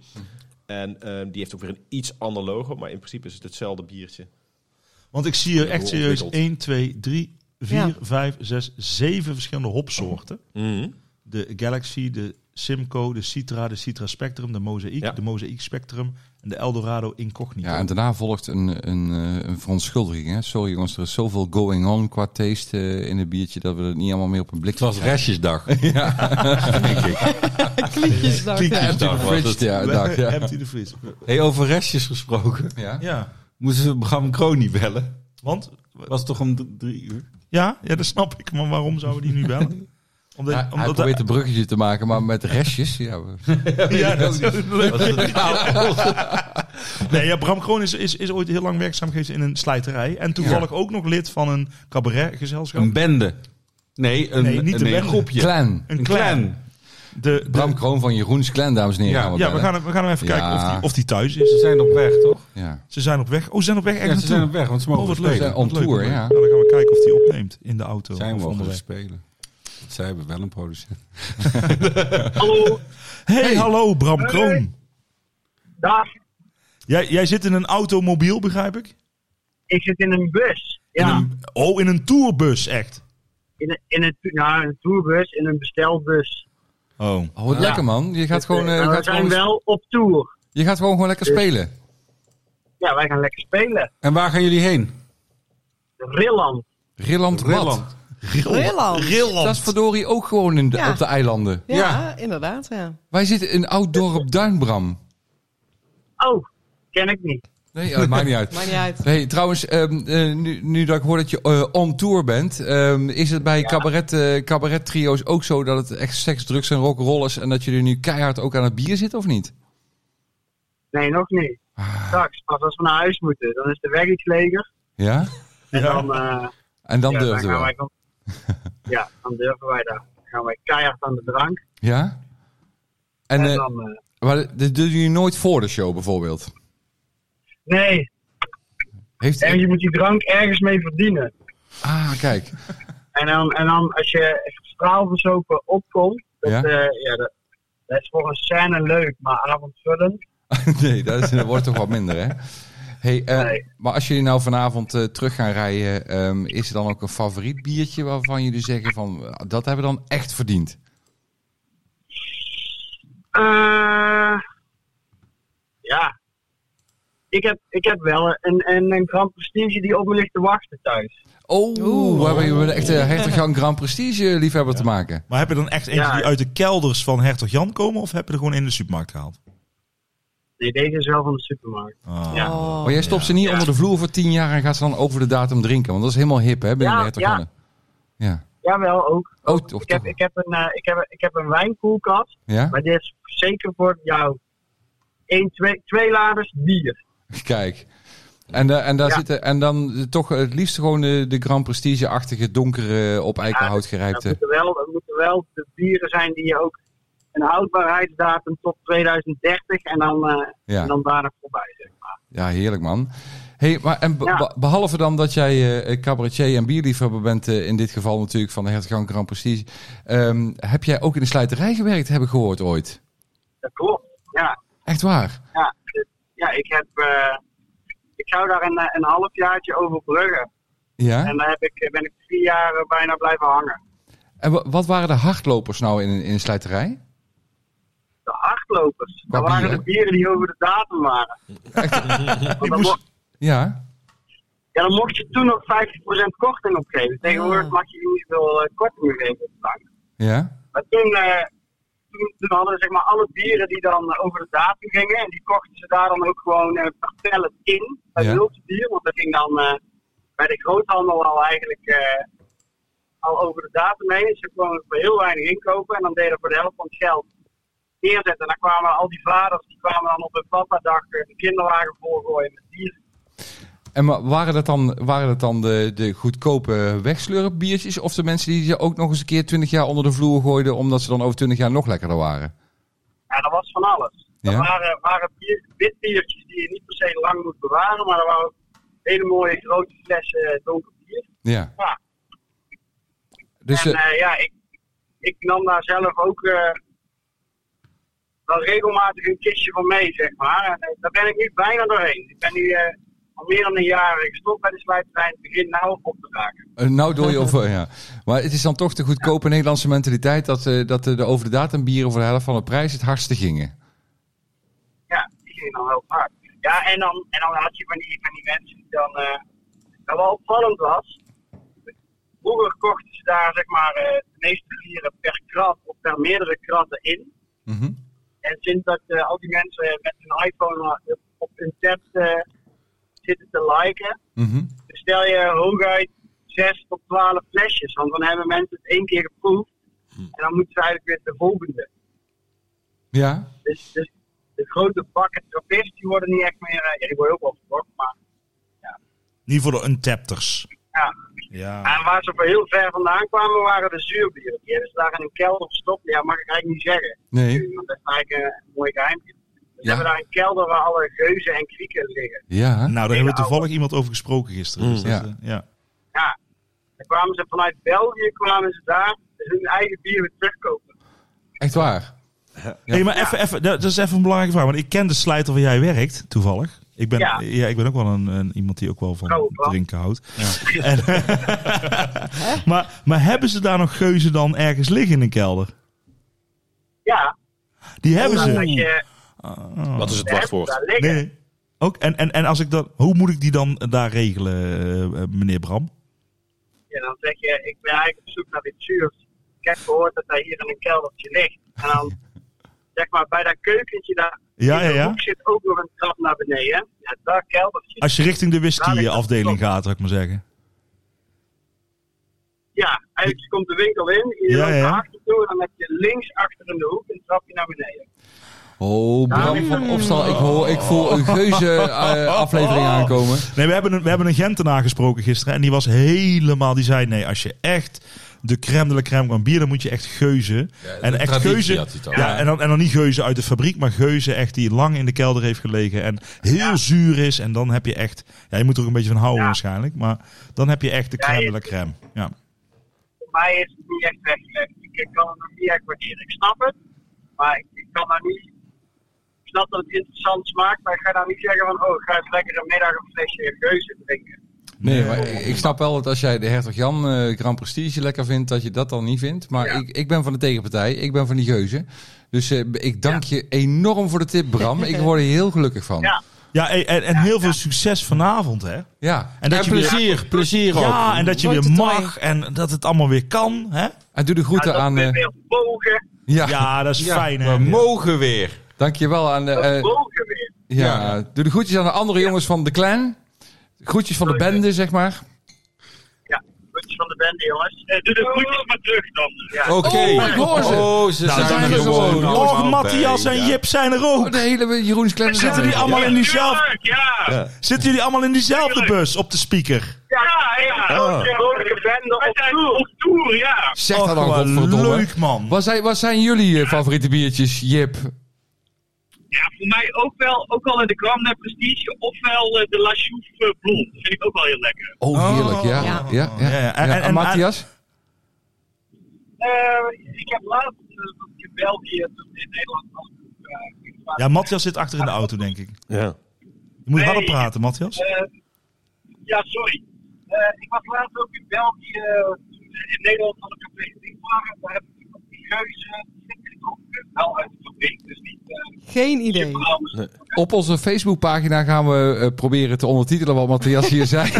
En eh, die heeft ook weer een iets ander logo, maar in principe is het hetzelfde biertje. Want ik zie hier echt serieus Ontwikkeld. 1, 2, 3, 4, Ja. 5, 6, 7 verschillende hopsoorten. De Galaxy, de Simcoe, de Citra, de Citra Spectrum, de Mosaic, Ja. de Mosaic Spectrum en de Eldorado Incognito. ja, en daarna volgt een, een, eh, een verontschuldiging. Hè. Sorry jongens, er is zoveel going on qua taste eh, in het biertje... dat we het niet allemaal meer op een blik... Het was restjesdag. Kliekjes daar. Kliekjes. dag, was Fridge, het. ja, dag, ja. Empty the Freeze. Hey, over restjes gesproken. Ja. Ja, Moesten we Bram Kroni bellen? want... Was het toch om d- drie uur? Ja, ja, dat snap ik. Maar waarom zouden we die nu bellen? Omdat, Hij, hij omdat probeert een bruggetje te maken, maar met restjes. Ja, we- ja, dat is Nee, ja, Bram Kroon is, is, is ooit heel lang werkzaam geweest in een slijterij. En toevallig ook nog lid van een cabaretgezelschap. Een bende. Nee, een, Nee, niet een nee, bende. groepje. Clan. Een Een clan. clan. De, de, Bram Kroon van Jeroens Clan, dames en heren. Ja, gaan we ja, we bellen. gaan, hem- we gaan hem even Ja. kijken of die, of die thuis is. Ze zijn op weg, toch? Ja. Ze zijn op weg. Oh, ze zijn op weg Ja, ergens ze zijn op naartoe. weg, want ze mogen Oh, wat leuk. spelen. Zijn on Leuk, tour, leuk. ja. Nou, dan gaan we kijken of die opneemt in de auto. Zij of mogen onderweg. spelen. Zij hebben wel een producent. Hey, hallo Bram Kroon. Dag, Jij, jij zit in een automobiel, begrijp ik? ik zit in een bus. Ja, In een, oh, in een tourbus, echt. in een, in een, to- nou, een tourbus, in een bestelbus. Oh. Oh, wat lekker man. Je gaat gewoon, eh, Nou, we gaat zijn gewoon, wel op tour. je gaat gewoon, gewoon lekker spelen. Ja, wij gaan lekker spelen. En waar gaan jullie heen? Rilland. Rilland Bad. Rilland. Rilland. Dat is verdorie ook gewoon in de, Ja. op de eilanden. Ja, inderdaad, ja. Wij zitten in Oud-Dorp Duinbram. Oh, ken ik niet. Nee, ja, dat maakt niet uit. Maakt niet uit. Nee, trouwens, ehm, eh, nu, nu dat ik hoor dat je eh, on tour bent, ehm, is het bij cabaret, eh, cabaret trio's ook zo dat het echt seks, drugs en rock'n'roll is en dat jullie nu keihard ook aan het bier zit of niet? Nee, nog niet. Straks, pas als we naar huis moeten, dan is de weg iets leger. Ja? En Ja. dan, eh, En dan ja, dan durfde gaan wel. wij gewoon- ja, dan durven wij daar. Dan gaan wij keihard aan de drank. Ja? En, En, eh, dan, eh, maar dit doen jullie nooit voor de show bijvoorbeeld? nee, Heeft, en je moet die drank ergens mee verdienen. ah, kijk. En dan, en dan als je straalverzopen opkomt, dat, Ja? ja? ja, dat, dat is voor een scène leuk, maar avondvullend. nee, dat, is, dat wordt toch wat minder, hè? Hey, eh, Nee. Maar als jullie nou vanavond eh, terug gaan rijden, ehm, is er dan ook een favoriet biertje waarvan jullie zeggen van ah, dat hebben we dan echt verdiend? Eh, ja. Ik heb, ik heb wel een, een, een Grand Prestige die op me ligt te wachten thuis. Oh, Oeh. we hebben met een echte Hertog Jan Grand Prestige eh, liefhebber te maken. Maar heb je dan echt eentje Ja. die uit de kelders van Hertog Jan komen? Of heb je er gewoon in de supermarkt gehaald? Nee, deze is wel van de supermarkt. Ah. Ja. Oh. Maar jij stopt ze niet onder de vloer voor tien jaar en gaat ze dan over de datum drinken. Want dat is helemaal hip, hè, binnen Ja, de Hertog ja. Janne. Ja. Jawel, ook. Oh, toch, Ik heb, toch. ik, heb een, eh, ik, heb, ik heb een wijnkoelkast, Ja? maar dit is zeker voor jou. Eén, twee, twee laders bier. Kijk. En, eh, en, daar Ja. zitten, en dan eh, toch het liefst gewoon de, de Grand Prestige-achtige, donkere, op eikenhout Dat gerijpte. moeten wel, dat moeten wel de bieren zijn die je ook een houdbaarheidsdatum tot 2030 en dan, eh, Ja. en dan daarna voorbij zeg maar. Ja, heerlijk man. Hey, maar en be- Ja. be- behalve dan dat jij eh, cabaretier en bierliefhebber bent, eh, in dit geval natuurlijk van de Hertgang Grand Prestige, ehm, heb jij ook in de slijterij gewerkt, heb ik gehoord ooit. Dat klopt, ja. Echt waar? Ja, dus, ja ik, heb, eh, ik zou daar een, eh, een halfjaartje overbruggen. Ja? En daar heb ik, ben ik vier jaar eh, bijna blijven hangen. En wa- wat waren de hardlopers nou in, in de slijterij? De hardlopers, Qua dat waren de bieren? bieren die over de datum waren. Want dan, mo- Ja? ja, dan mocht je toen nog 50% korting opgeven. Tegenwoordig Ah. mag je niet veel eh, korting meer geven op de bank. Ja? Maar toen, eh, toen, toen hadden we zeg maar alle bieren die dan eh, over de datum gingen. En die kochten ze daar dan ook gewoon eh per pallet in. Bij Ja. ja. bier. Want dat ging dan eh, bij de groothandel al eigenlijk eh, al over de datum heen. Dus ze konden voor heel weinig inkopen. En dan deden we voor de helft van het geld neerzetten. En dan kwamen al die vaders, die kwamen dan op hun papadag eh, de kinderwagen volgooien met bier. En maar waren dat dan, waren dat dan de, de goedkope wegslurpbiertjes of de mensen die ze ook nog eens een keer 20 jaar onder de vloer gooiden omdat ze dan over 20 jaar nog lekkerder waren? Ja, dat was van alles. Er Ja. waren, waren bier, witbiertjes die je niet per se lang moet bewaren, maar er waren ook hele mooie grote flessen eh, donker bier. Ja. Ja. Dus, en eh, eh, ja, ik, ik nam daar zelf ook eh, wel regelmatig een kistje van mee, zeg maar. En, eh, daar ben ik nu bijna doorheen. Ik ben nu eh, al meer dan een jaar gestopt bij de slijterij en begin nou op te raken. Eh, Nou, door je over. Ja. Maar het is dan toch de goedkope Nederlandse mentaliteit dat, eh, dat eh, de over de datum bieren voor de helft van de prijs het hardste gingen. Ja, die ging dan heel vaak. Ja, en dan, en dan had je van die, van die mensen die dan... eh dat wel opvallend was, vroeger kochten ze daar zeg maar eh, de meeste bieren per krat of per meerdere kratten in. Mhm. En sinds dat eh, al die mensen met hun iPhone eh, op hun tab eh, zitten te liken, Mhm. bestel je hooguit 6 tot 12 flesjes. Want dan hebben mensen het één keer geproefd en dan moeten ze eigenlijk weer de volgende. Ja, Dus, dus de grote bakken trappisten die worden niet echt meer, eh, ja, die worden ook wel verkocht, maar Niet voor de untapters. ja. Ja. En waar ze voor heel ver vandaan kwamen waren de zuurbieren. Die hebben ze daar in een kelder gestopt. Ja, mag ik eigenlijk niet zeggen. nee. Want dat is eigenlijk eh, een mooi geheimje. Ze Ja. hebben daar een kelder waar alle geuzen en krieken liggen. Ja, Nou, daar hebben we toevallig iemand over gesproken gisteren. Dus dat is, Ja. eh, ja. Ja. Dan kwamen ze vanuit België, kwamen ze daar dus hun eigen bier weer terugkopen. echt waar. Hey, maar even, even, dat dat is even een belangrijke vraag. Want ik ken de slijter waar jij werkt, toevallig. Ik ben, ja. Ja. ik ben ook wel een, een- iemand die ook wel van Oh, wat? drinken houdt. En- maar, maar hebben ze daar nog geuzen dan ergens liggen in een kelder? Ja, Die hebben omdat als ze. je Oh. Wat is het hebt wachtwoord? daar liggen. Nee. Ook, en, en, en als ik dat, hoe moet ik die dan daar regelen, eh, eh, meneer Bram? En dan zeg je, ik ben eigenlijk op zoek naar iets zuurs. Ik heb gehoord dat hij hier in een keldertje ligt. En dan zeg maar, bij dat keukentje daar Ja, in ja, de ja. hoek zit ook nog een trap naar beneden. Ja, daar keldertje. Als je richting de whisky-afdeling gaat, zou ik maar zeggen. Ja, eigenlijk je komt de winkel in, je Ja, loopt ja. naar achter toe en dan heb je links achter in de hoek een trapje naar beneden. Oh, Bram van Opstal, ik, hoor, ik voel een geuze eh, aflevering aankomen. Nee, we hebben een, we hebben een Gentenaar gesproken gisteren. En die was helemaal... Die zei, nee, als je echt de crème de la crème kan bier... dan moet je echt geuzen. en echt traditie geuzen... had hij het Ja, over. en, dan, en dan niet geuzen uit de fabriek... maar geuzen echt die lang in de kelder heeft gelegen... en heel zuur is. En dan heb je echt... Ja, je moet er ook een beetje van houden waarschijnlijk. Maar dan heb je echt de Ja, crème je- de la crème. Ja. Voor mij is het niet echt weggelegd. Ik ik kan het nog niet echt waarderen. Ik snap het, maar ik, ik kan daar niet... Ik snap dat het interessant smaakt, maar ik ga nou niet zeggen van... Oh, ik ga eens lekker een middag een flesje geuze drinken. Nee, maar ik snap wel dat als jij de Hertog Jan eh, Grand Prestige lekker vindt, dat je dat dan niet vindt. Maar ik, ik ben van de tegenpartij, ik ben van die geuze. Dus eh, ik dank je enorm voor de tip, Bram. Ik word er heel gelukkig van. Ja. Ja, en, en- en heel veel succes vanavond, hè? Ja. En dat je weer... Plezier, plezier ook. Ja, en dat je Wordt weer het mag en dat het allemaal weer kan. Hè? En doe de groeten dat aan... we eh weer mogen, ja, Ja, dat is fijn. Hè? We mogen weer. dankjewel aan... de. dat eh, mogen weer. ja, doe de groetjes aan de andere jongens van de clan. Groetjes van de bende, zeg maar. Ja, groetjes van de bende, jongens. Eh, doe de groetjes maar terug dan. Ja. Oké. Oh, ik hoor ze. Oh, ze Nou, zijn zijn er er gewoon. Och, allemaal Matthias bij, en ja. Jip zijn er ook. Oh, de hele Jeroen's clan is Zitten die aanwezig. allemaal in diezelfde, Tuurlijk, ja! Ja, zitten jullie allemaal in diezelfde Tuurlijk. bus op de speaker? ja, ja. Grote, grote bende op tour. Op tour, ja. Zeg Och, dat dan, wat godverdomme. leuk man. Wat zijn, wat zijn jullie eh, favoriete biertjes, Jip? Ja, voor mij ook wel, ook al in de Grand Prix Prestige, ofwel eh, de La Chouffe eh, Blond. Vind ik ook wel heel lekker. Oh, heerlijk, ja. Ja. ja. ja, Ja, ja. En- en- En Matthias? Eh, ik heb laatst eh, in België, toen in Nederland was. eh, ik was- Ja, Matthias zit achter in de auto, denk ik. Ja. Je moet Nee. harder praten, Matthias. Eh, ja, sorry. Eh, ik was laatst ook in België, eh, toen ze in Nederland van de café Ding waren. Daar heb ik ook die geuzen gedronken. eh, Wel uit de fabriek, dus niet eh Geen idee. branden. Op onze Facebookpagina gaan we eh, proberen te ondertitelen wat Matthias hier zei.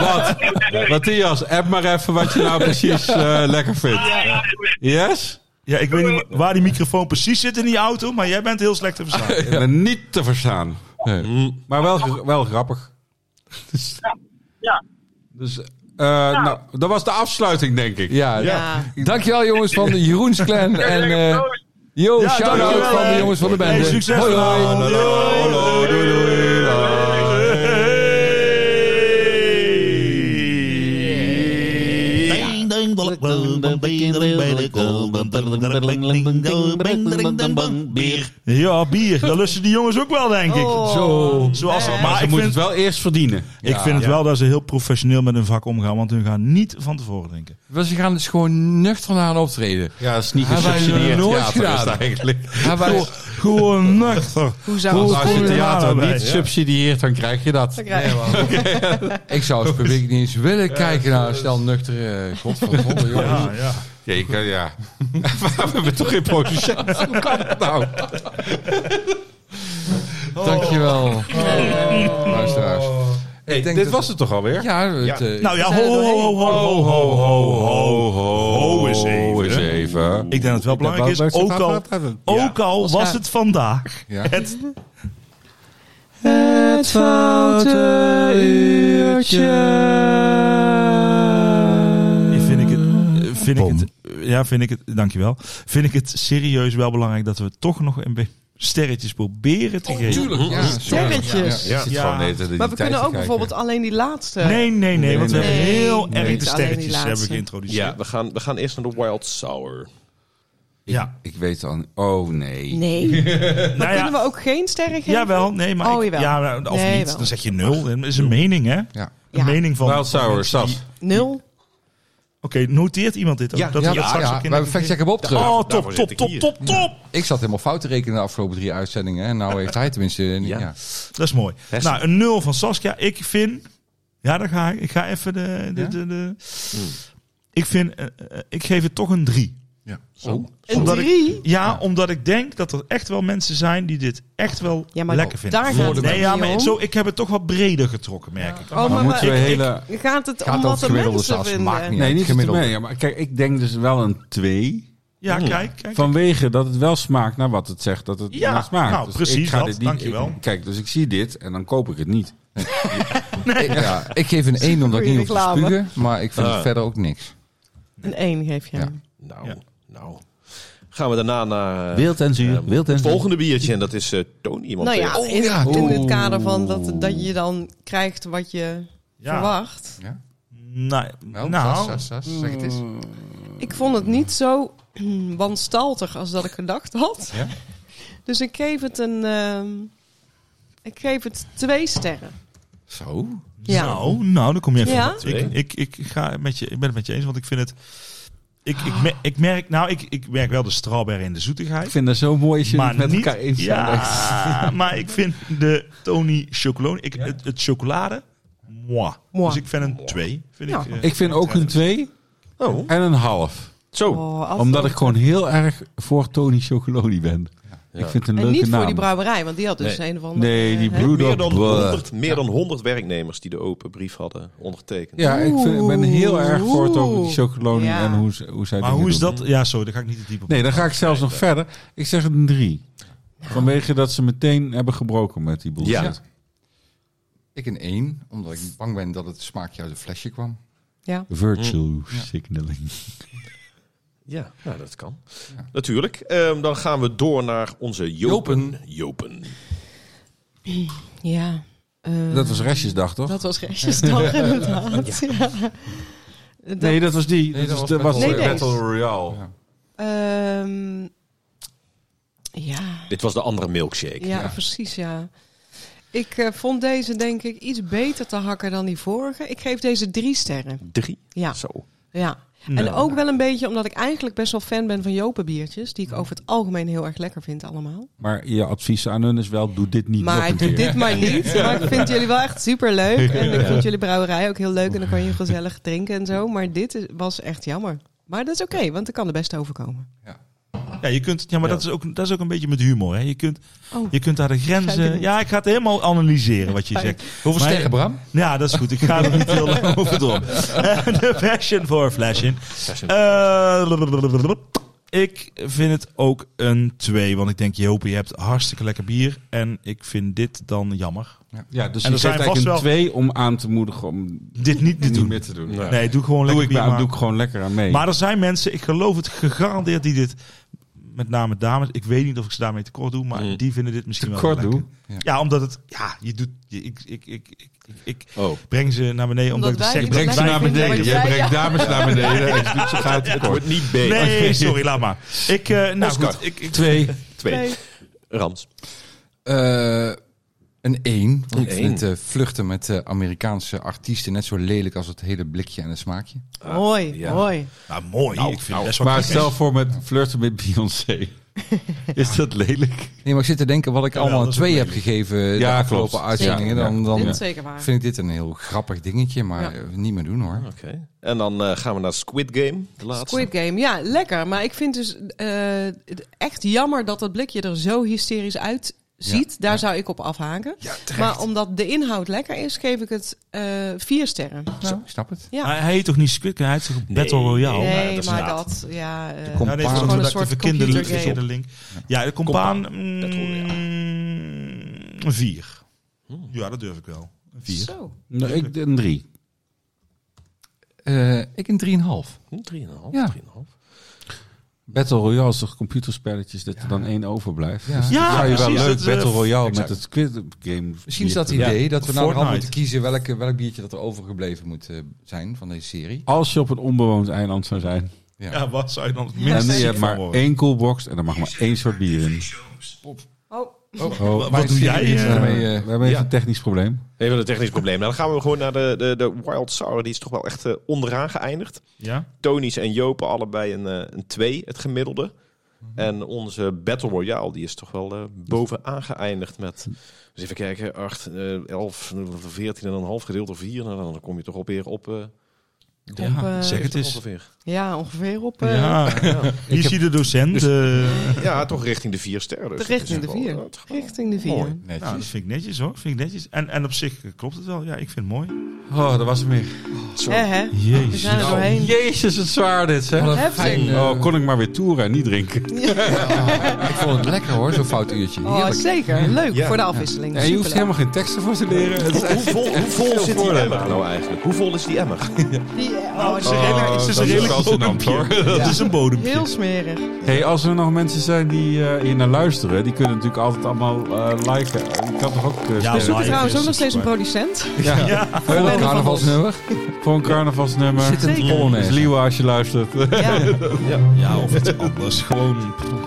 Wat? Matthias, app maar even wat je nou precies eh, lekker vindt. Ja, ja, ja. Yes? Ja, ik weet niet waar die microfoon precies zit in die auto, maar jij bent heel slecht te verstaan. Ik ben Niet te verstaan. Mm, Maar wel, gra- wel grappig. Ja. Dus, eh, nou, dat was de afsluiting, denk ik. ja, Ja. dankjewel jongens van de Jeroens clan. En eh, yo, Ja, shout-out dankjewel, van de hè. jongens van de band. Hey, succes vanavond. Doei. Hallo, doei, doei, doei. Ja, bier. Dat lusten die jongens ook wel, denk ik. Oh. Zoals, Nee. maar Ze ik moet vind, het wel eerst verdienen. ik vind het wel dat ze heel professioneel met hun vak omgaan, want hun gaan niet van tevoren drinken. We ze gaan dus gewoon nuchter naar een optreden. Ja, dat is niet Hebben wij gesubsidieerd nooit theater is het gedaan. eigenlijk. Maar wij- Gewoon nuchter. Hoe zou Hoe- het Als je Goed, theater daarbij. niet Ja. subsidieert, dan krijg je dat. te krijgen? ik zou als publiek niet eens willen kijken naar een stel nuchtere... eh, Godverdomme jongens. Ja, ja. Ja, je kan, ja. We hebben toch geen producent? Hoe kan dat nou? Oh. Dankjewel. Luisteraars. Hey, denk dit dat- was het toch alweer? Ja, het, eh, Nou ja, ho, ho, ho, ho, ho, ho, ho, ho, ho, eens Ho eens even. even. Ik denk dat het wel belangrijk is, ook al, ook al was het vandaag. Ja. Het, Het foute uurtje. vind ik het, eh, vind ik het, ja, vind ik het, dankjewel. Vind ik het serieus wel belangrijk dat we toch nog een beetje sterretjes proberen Oh, te geven. tuurlijk, ja. Sterretjes. Ja, zit Ja. gewoon de hele tijd in die Maar we kunnen tijd te ook kijken. bijvoorbeeld alleen die laatste. Nee, nee, nee, want we nee, hebben nee. heel Nee, erg het de is alleen die sterretjes hebben laatste. geïntroduceerd. Ja, we gaan, we gaan eerst naar de Wild Sour. Ja. Nou Ik weet al. Oh nee. Nee. maar ja. kunnen we ook geen sterren geven? Jawel, nee, maar Oh, ik, jawel. ja, of Nee, niet, wel. dan zeg je nul. Dat is een mening, hè? Ja. Een Ja. mening van... Wild Sour, van mensen die- Sas. Nul. Oké, noteert iemand dit ook? Ja, dat Ja, dat we dat straks ja, ook in wij de- factchecken Bob terug. Oh, top, daarvoor top, zit ik top, hier. top, top. Ik zat helemaal fout te rekenen de afgelopen drie uitzendingen. En nou heeft hij tenminste... eh, niet- Ja. ja. Dat is mooi. Nou, een nul van Saskia. Ik vind... Ja, daar ga ik. Ik ga even de... de, de, de- Ik vind... eh, eh, ik geef het toch een drie. Een Omdat ik- drie. Ja, omdat ik denk dat er echt wel mensen zijn die dit echt wel Ja, maar lekker vinden. daar gaat het nee, niet ja, om. maar zo, ik heb het toch wat breder getrokken, merk ik. Oh, maar, Dan moeten we maar- hele... ik- gaat het Gaat om wat over de gemiddelde mensen Sas, vinden? maakt niet. Nee, niet Gemiddelde. gemiddeld. Ja, maar kijk, ik denk dus wel een 2. Ja, kijk, kijk. Vanwege dat het wel smaakt naar wat het zegt dat het Ja, naar smaakt. Dus nou, precies dat. dit niet- Dankjewel. ik- kijk, dus ik zie dit en dan koop ik het niet. Ik, ja, ik geef een 1 omdat ik niet hoef te reclame. spugen, maar ik vind het verder ook niks. Een 1 geef je Ja. hem. Nou, Ja. nou. Gaan we daarna naar eh, Wild en zuur, eh, wild en het zuur. volgende biertje. En dat is eh, Tony. Want Nou eh, ja, oh, in, ja, in het oeh. kader van dat, dat je dan krijgt wat je Ja. verwacht. Nou, Wel, zes, nou zes, zes, zeg het eens. Ik vond het niet zo wanstaltig als dat ik gedacht had. Ja? Dus ik geef het een... ehm, ik geef het twee sterren. Zo. Ja. Nou, nou, dan kom je even. Ja? Ik, ik, ik, ga met je, ik ben het met je eens, want ik vind het. Ik, ik, Ah. me- ik merk, nou, ik, ik merk wel de strawberry en de Ik zoetigheid. vind dat zo mooi als je het Maar met niet, elkaar eens bent. ja, maar ik vind de Tony chocolade, ik, het, het chocolade, moi. Moi. Dus ik vind een 2. Vind Ja. ik, eh, Ik vind ook een 2 Oh. en een half. Zo. Oh, als- Omdat ik gewoon heel erg voor Tony Chocoloni ben. Ik vind het een en leuke niet naam. voor die brouwerij, want die had dus Nee. een of andere... Nee, die eh, Meer Brewdog. dan, blah. 100, meer dan 100 werknemers die de open brief hadden ondertekend. Ja, ik vind- ik ben heel erg voor Tony Oeh. Chocoloni Ja. en hoe, ze- hoe zij maar dingen hoe is doen. dat? Ja, sorry, daar ga ik niet te diep op. Nee, dan ga ik zelfs nog verder. Ik zeg het een 3. Vanwege dat ze meteen hebben gebroken met die bullshit. Ja. Ik een 1, omdat ik bang ben dat het smaakje uit het flesje kwam. Ja. Virtue signaling. Ja, nou, dat kan. Natuurlijk. Ehm, dan gaan we door naar onze Jopen. Jopen. ja. eh, Dat was restjesdag, toch? Dat was restjesdag inderdaad. Ja. Dat- nee, dat was die. Nee, dat dat was, de- was was Battle de Royale. Battle Royale. Ehm, ja. Dit was de andere milkshake. Ja, precies, ja. Ik eh, vond deze, denk ik, iets beter te hakken dan die vorige. Ik geef deze drie sterren. Drie. Ja, Zo. ja. Nou. En ook wel een beetje omdat ik eigenlijk best wel fan ben van Jopenbiertjes. Die ik over het algemeen heel erg lekker vind allemaal. Maar je advies aan hun is wel, doe dit niet nog Maar een keer. doe dit maar niet. Maar ik vind jullie wel echt super leuk. En ik vind jullie brouwerij ook heel leuk. En dan kan je gezellig drinken en zo. Maar dit is- was echt jammer. Maar dat is oké, want er kan er best overkomen. Ja, je kunt, ja maar Dat, is ook, dat is ook een beetje met humor. Hè. Je, kunt, Oh. je kunt daar de Begrijp ik grenzen. niet. Ja, ik ga het helemaal analyseren wat je zegt. Hoeveel Maar- sterren, Bram? Ja, dat is goed. Ik ga er niet heel lang over door. De passion voor flashing. Eh, ik vind het ook een 2. Want ik denk, Joopie, je hebt hartstikke lekker bier. En ik vind dit dan jammer. Ja, dus En je er zijn geeft eigenlijk een vast wel- 2 om aan te moedigen om Dit niet te niet doen. meer te doen. Ja. Nee, doe gewoon Doe lekker ik, bier. maar, Maar, doe ik gewoon lekker aan mee. maar er zijn mensen, ik geloof het gegarandeerd, die dit... Met name dames. Ik weet niet of ik ze daarmee tekort doe. Maar Mm. die vinden dit misschien wel Kort lekker. doe. Ja, omdat het... Ja, je doet... je- ik, ik, ik, ik, ik, ik Oh. breng ze naar beneden omdat, Omdat ik het wij- Breng zeg. Breng ze ze Wij naar naar vinden- beneden. beneden. Jij Jij Ja, brengt brengt dames naar beneden. ze gaat Het wordt niet beter. Nee, sorry, laat maar. Ik, eh nou Oscar. goed, ik, ik, Twee. Ah, Twee. Rans. Eh, een 1. Want ik Een vind het eh, vluchten met eh, Amerikaanse artiesten net zo lelijk als het hele blikje en het smaakje. Mooi, ja. mooi. nou mooi, ik vind het best wel Maar knap. stel voor met flirten met Beyoncé. Is dat lelijk? Nee, maar ik zit te denken wat ik Jawel, allemaal een dat is ook 2 heb lelijk. gegeven de Ja, afgelopen klopt. uitzendingen. Ja, Dan, dan Dit is zeker waar. vind ik dit een heel grappig dingetje, maar Ja. eh, niet meer doen hoor. Oké. En dan eh, gaan we naar Squid Game. De laatste. Squid Game, ja, lekker. Maar ik vind dus eh, het echt jammer dat dat blikje er zo hysterisch uitziet. Daar zou ik op afhaken. maar omdat de inhoud lekker is, geef ik het eh, vier sterren. Nou, ik snap het. Ja. Maar hij heet toch niet Squid Game, hij heet toch Battle Royale? nee, nou dat is maar een- dat, ja. eh, komt- Ja, nee, dat is Compaan. gewoon Gewoon een een soort soort verkeerde link. computergame. verkeerde link. Ja, de compaan... mm, Battle Een vier. Hm. Ja, dat durf ik wel. Een vier. Zo. Nou, ik, een drie. Eh, ik een 3,5. Hm, Drieënhalf. Ja. drieënhalf. Battle Royale is toch computerspelletjes dat er dan één overblijft? Ja. Dus dat Ja, zou je wel precies, leuk dat, eh, Battle Royale exact. met het Squid Game. Misschien is dat het Ja. idee dat we nou Fortnite. moeten kiezen welke, welk biertje dat er overgebleven moet eh, zijn van deze serie. Als je op een onbewoond eiland zou zijn. Ja, wat zou je dan het en minst je ziek hebt van maar worden? één coolbox en er mag maar één soort bier in. Oh, Oh, Wat doe jij? serieus, eh? daarmee, we eh, hebben even ja. een technisch probleem. Even een technisch probleem. Nou, dan gaan we gewoon naar de, de, de Wild Sour. Die is toch wel echt eh, onderaan geëindigd. Ja? Tony's en Jopen allebei een, eh, een 2, het gemiddelde. En onze Battle Royale, die is toch wel eh, bovenaan geëindigd met... Dus even kijken, 8, 11, 14 en een half gedeeld door 4. Nou, dan kom je toch op weer op... eh, Op, eh, zeg het eens. ongeveer. ja, ongeveer op eh, Ja, hier zie je de docent. eh, Ja, toch richting de vier sterren. Dus de dat richting is de wel- vier. dat is wel- Richting de vier. Mooi, netjes. nou, dat vind ik netjes hoor. Vind ik netjes. En, en op zich eh, klopt het wel. Ja, ik vind het mooi. Oh, dat was het meer. Hè, Eh, hè? We Jezus. zijn er doorheen. Jezus, het zwaar dit, zeg. Wat een Heftig. fijn, eh, Oh, kon ik maar weer toeren en niet drinken. Ik vond het lekker hoor, zo'n fout uurtje. Oh, Heerlijk. zeker. Leuk Ja. voor de afwisseling. En je hoeft Superleuk. helemaal geen teksten voor te Oh, leren. Het is Hoe echt- vol, hoe vol zit die emmer nou eigenlijk? Hoe vol is die emmer? Die, oh, Het is een redelijk- het is een redelijk wel gênant, bodempje. Dat is een bodempje. heel smerig. Hey, als er nog mensen zijn die eh, hier naar luisteren, die kunnen natuurlijk altijd allemaal eh, liken. Ik kan toch ook eh, Ja, stemmen? We zoeken live trouwens is ook nog steeds een super. producent. ja. Voor een Carnaval. carnavalsnummer. Voor een carnavalsnummer. Zit een Dus polonaise. Leeuwen als je luistert. Ja. Ja, of iets anders. Gewoon.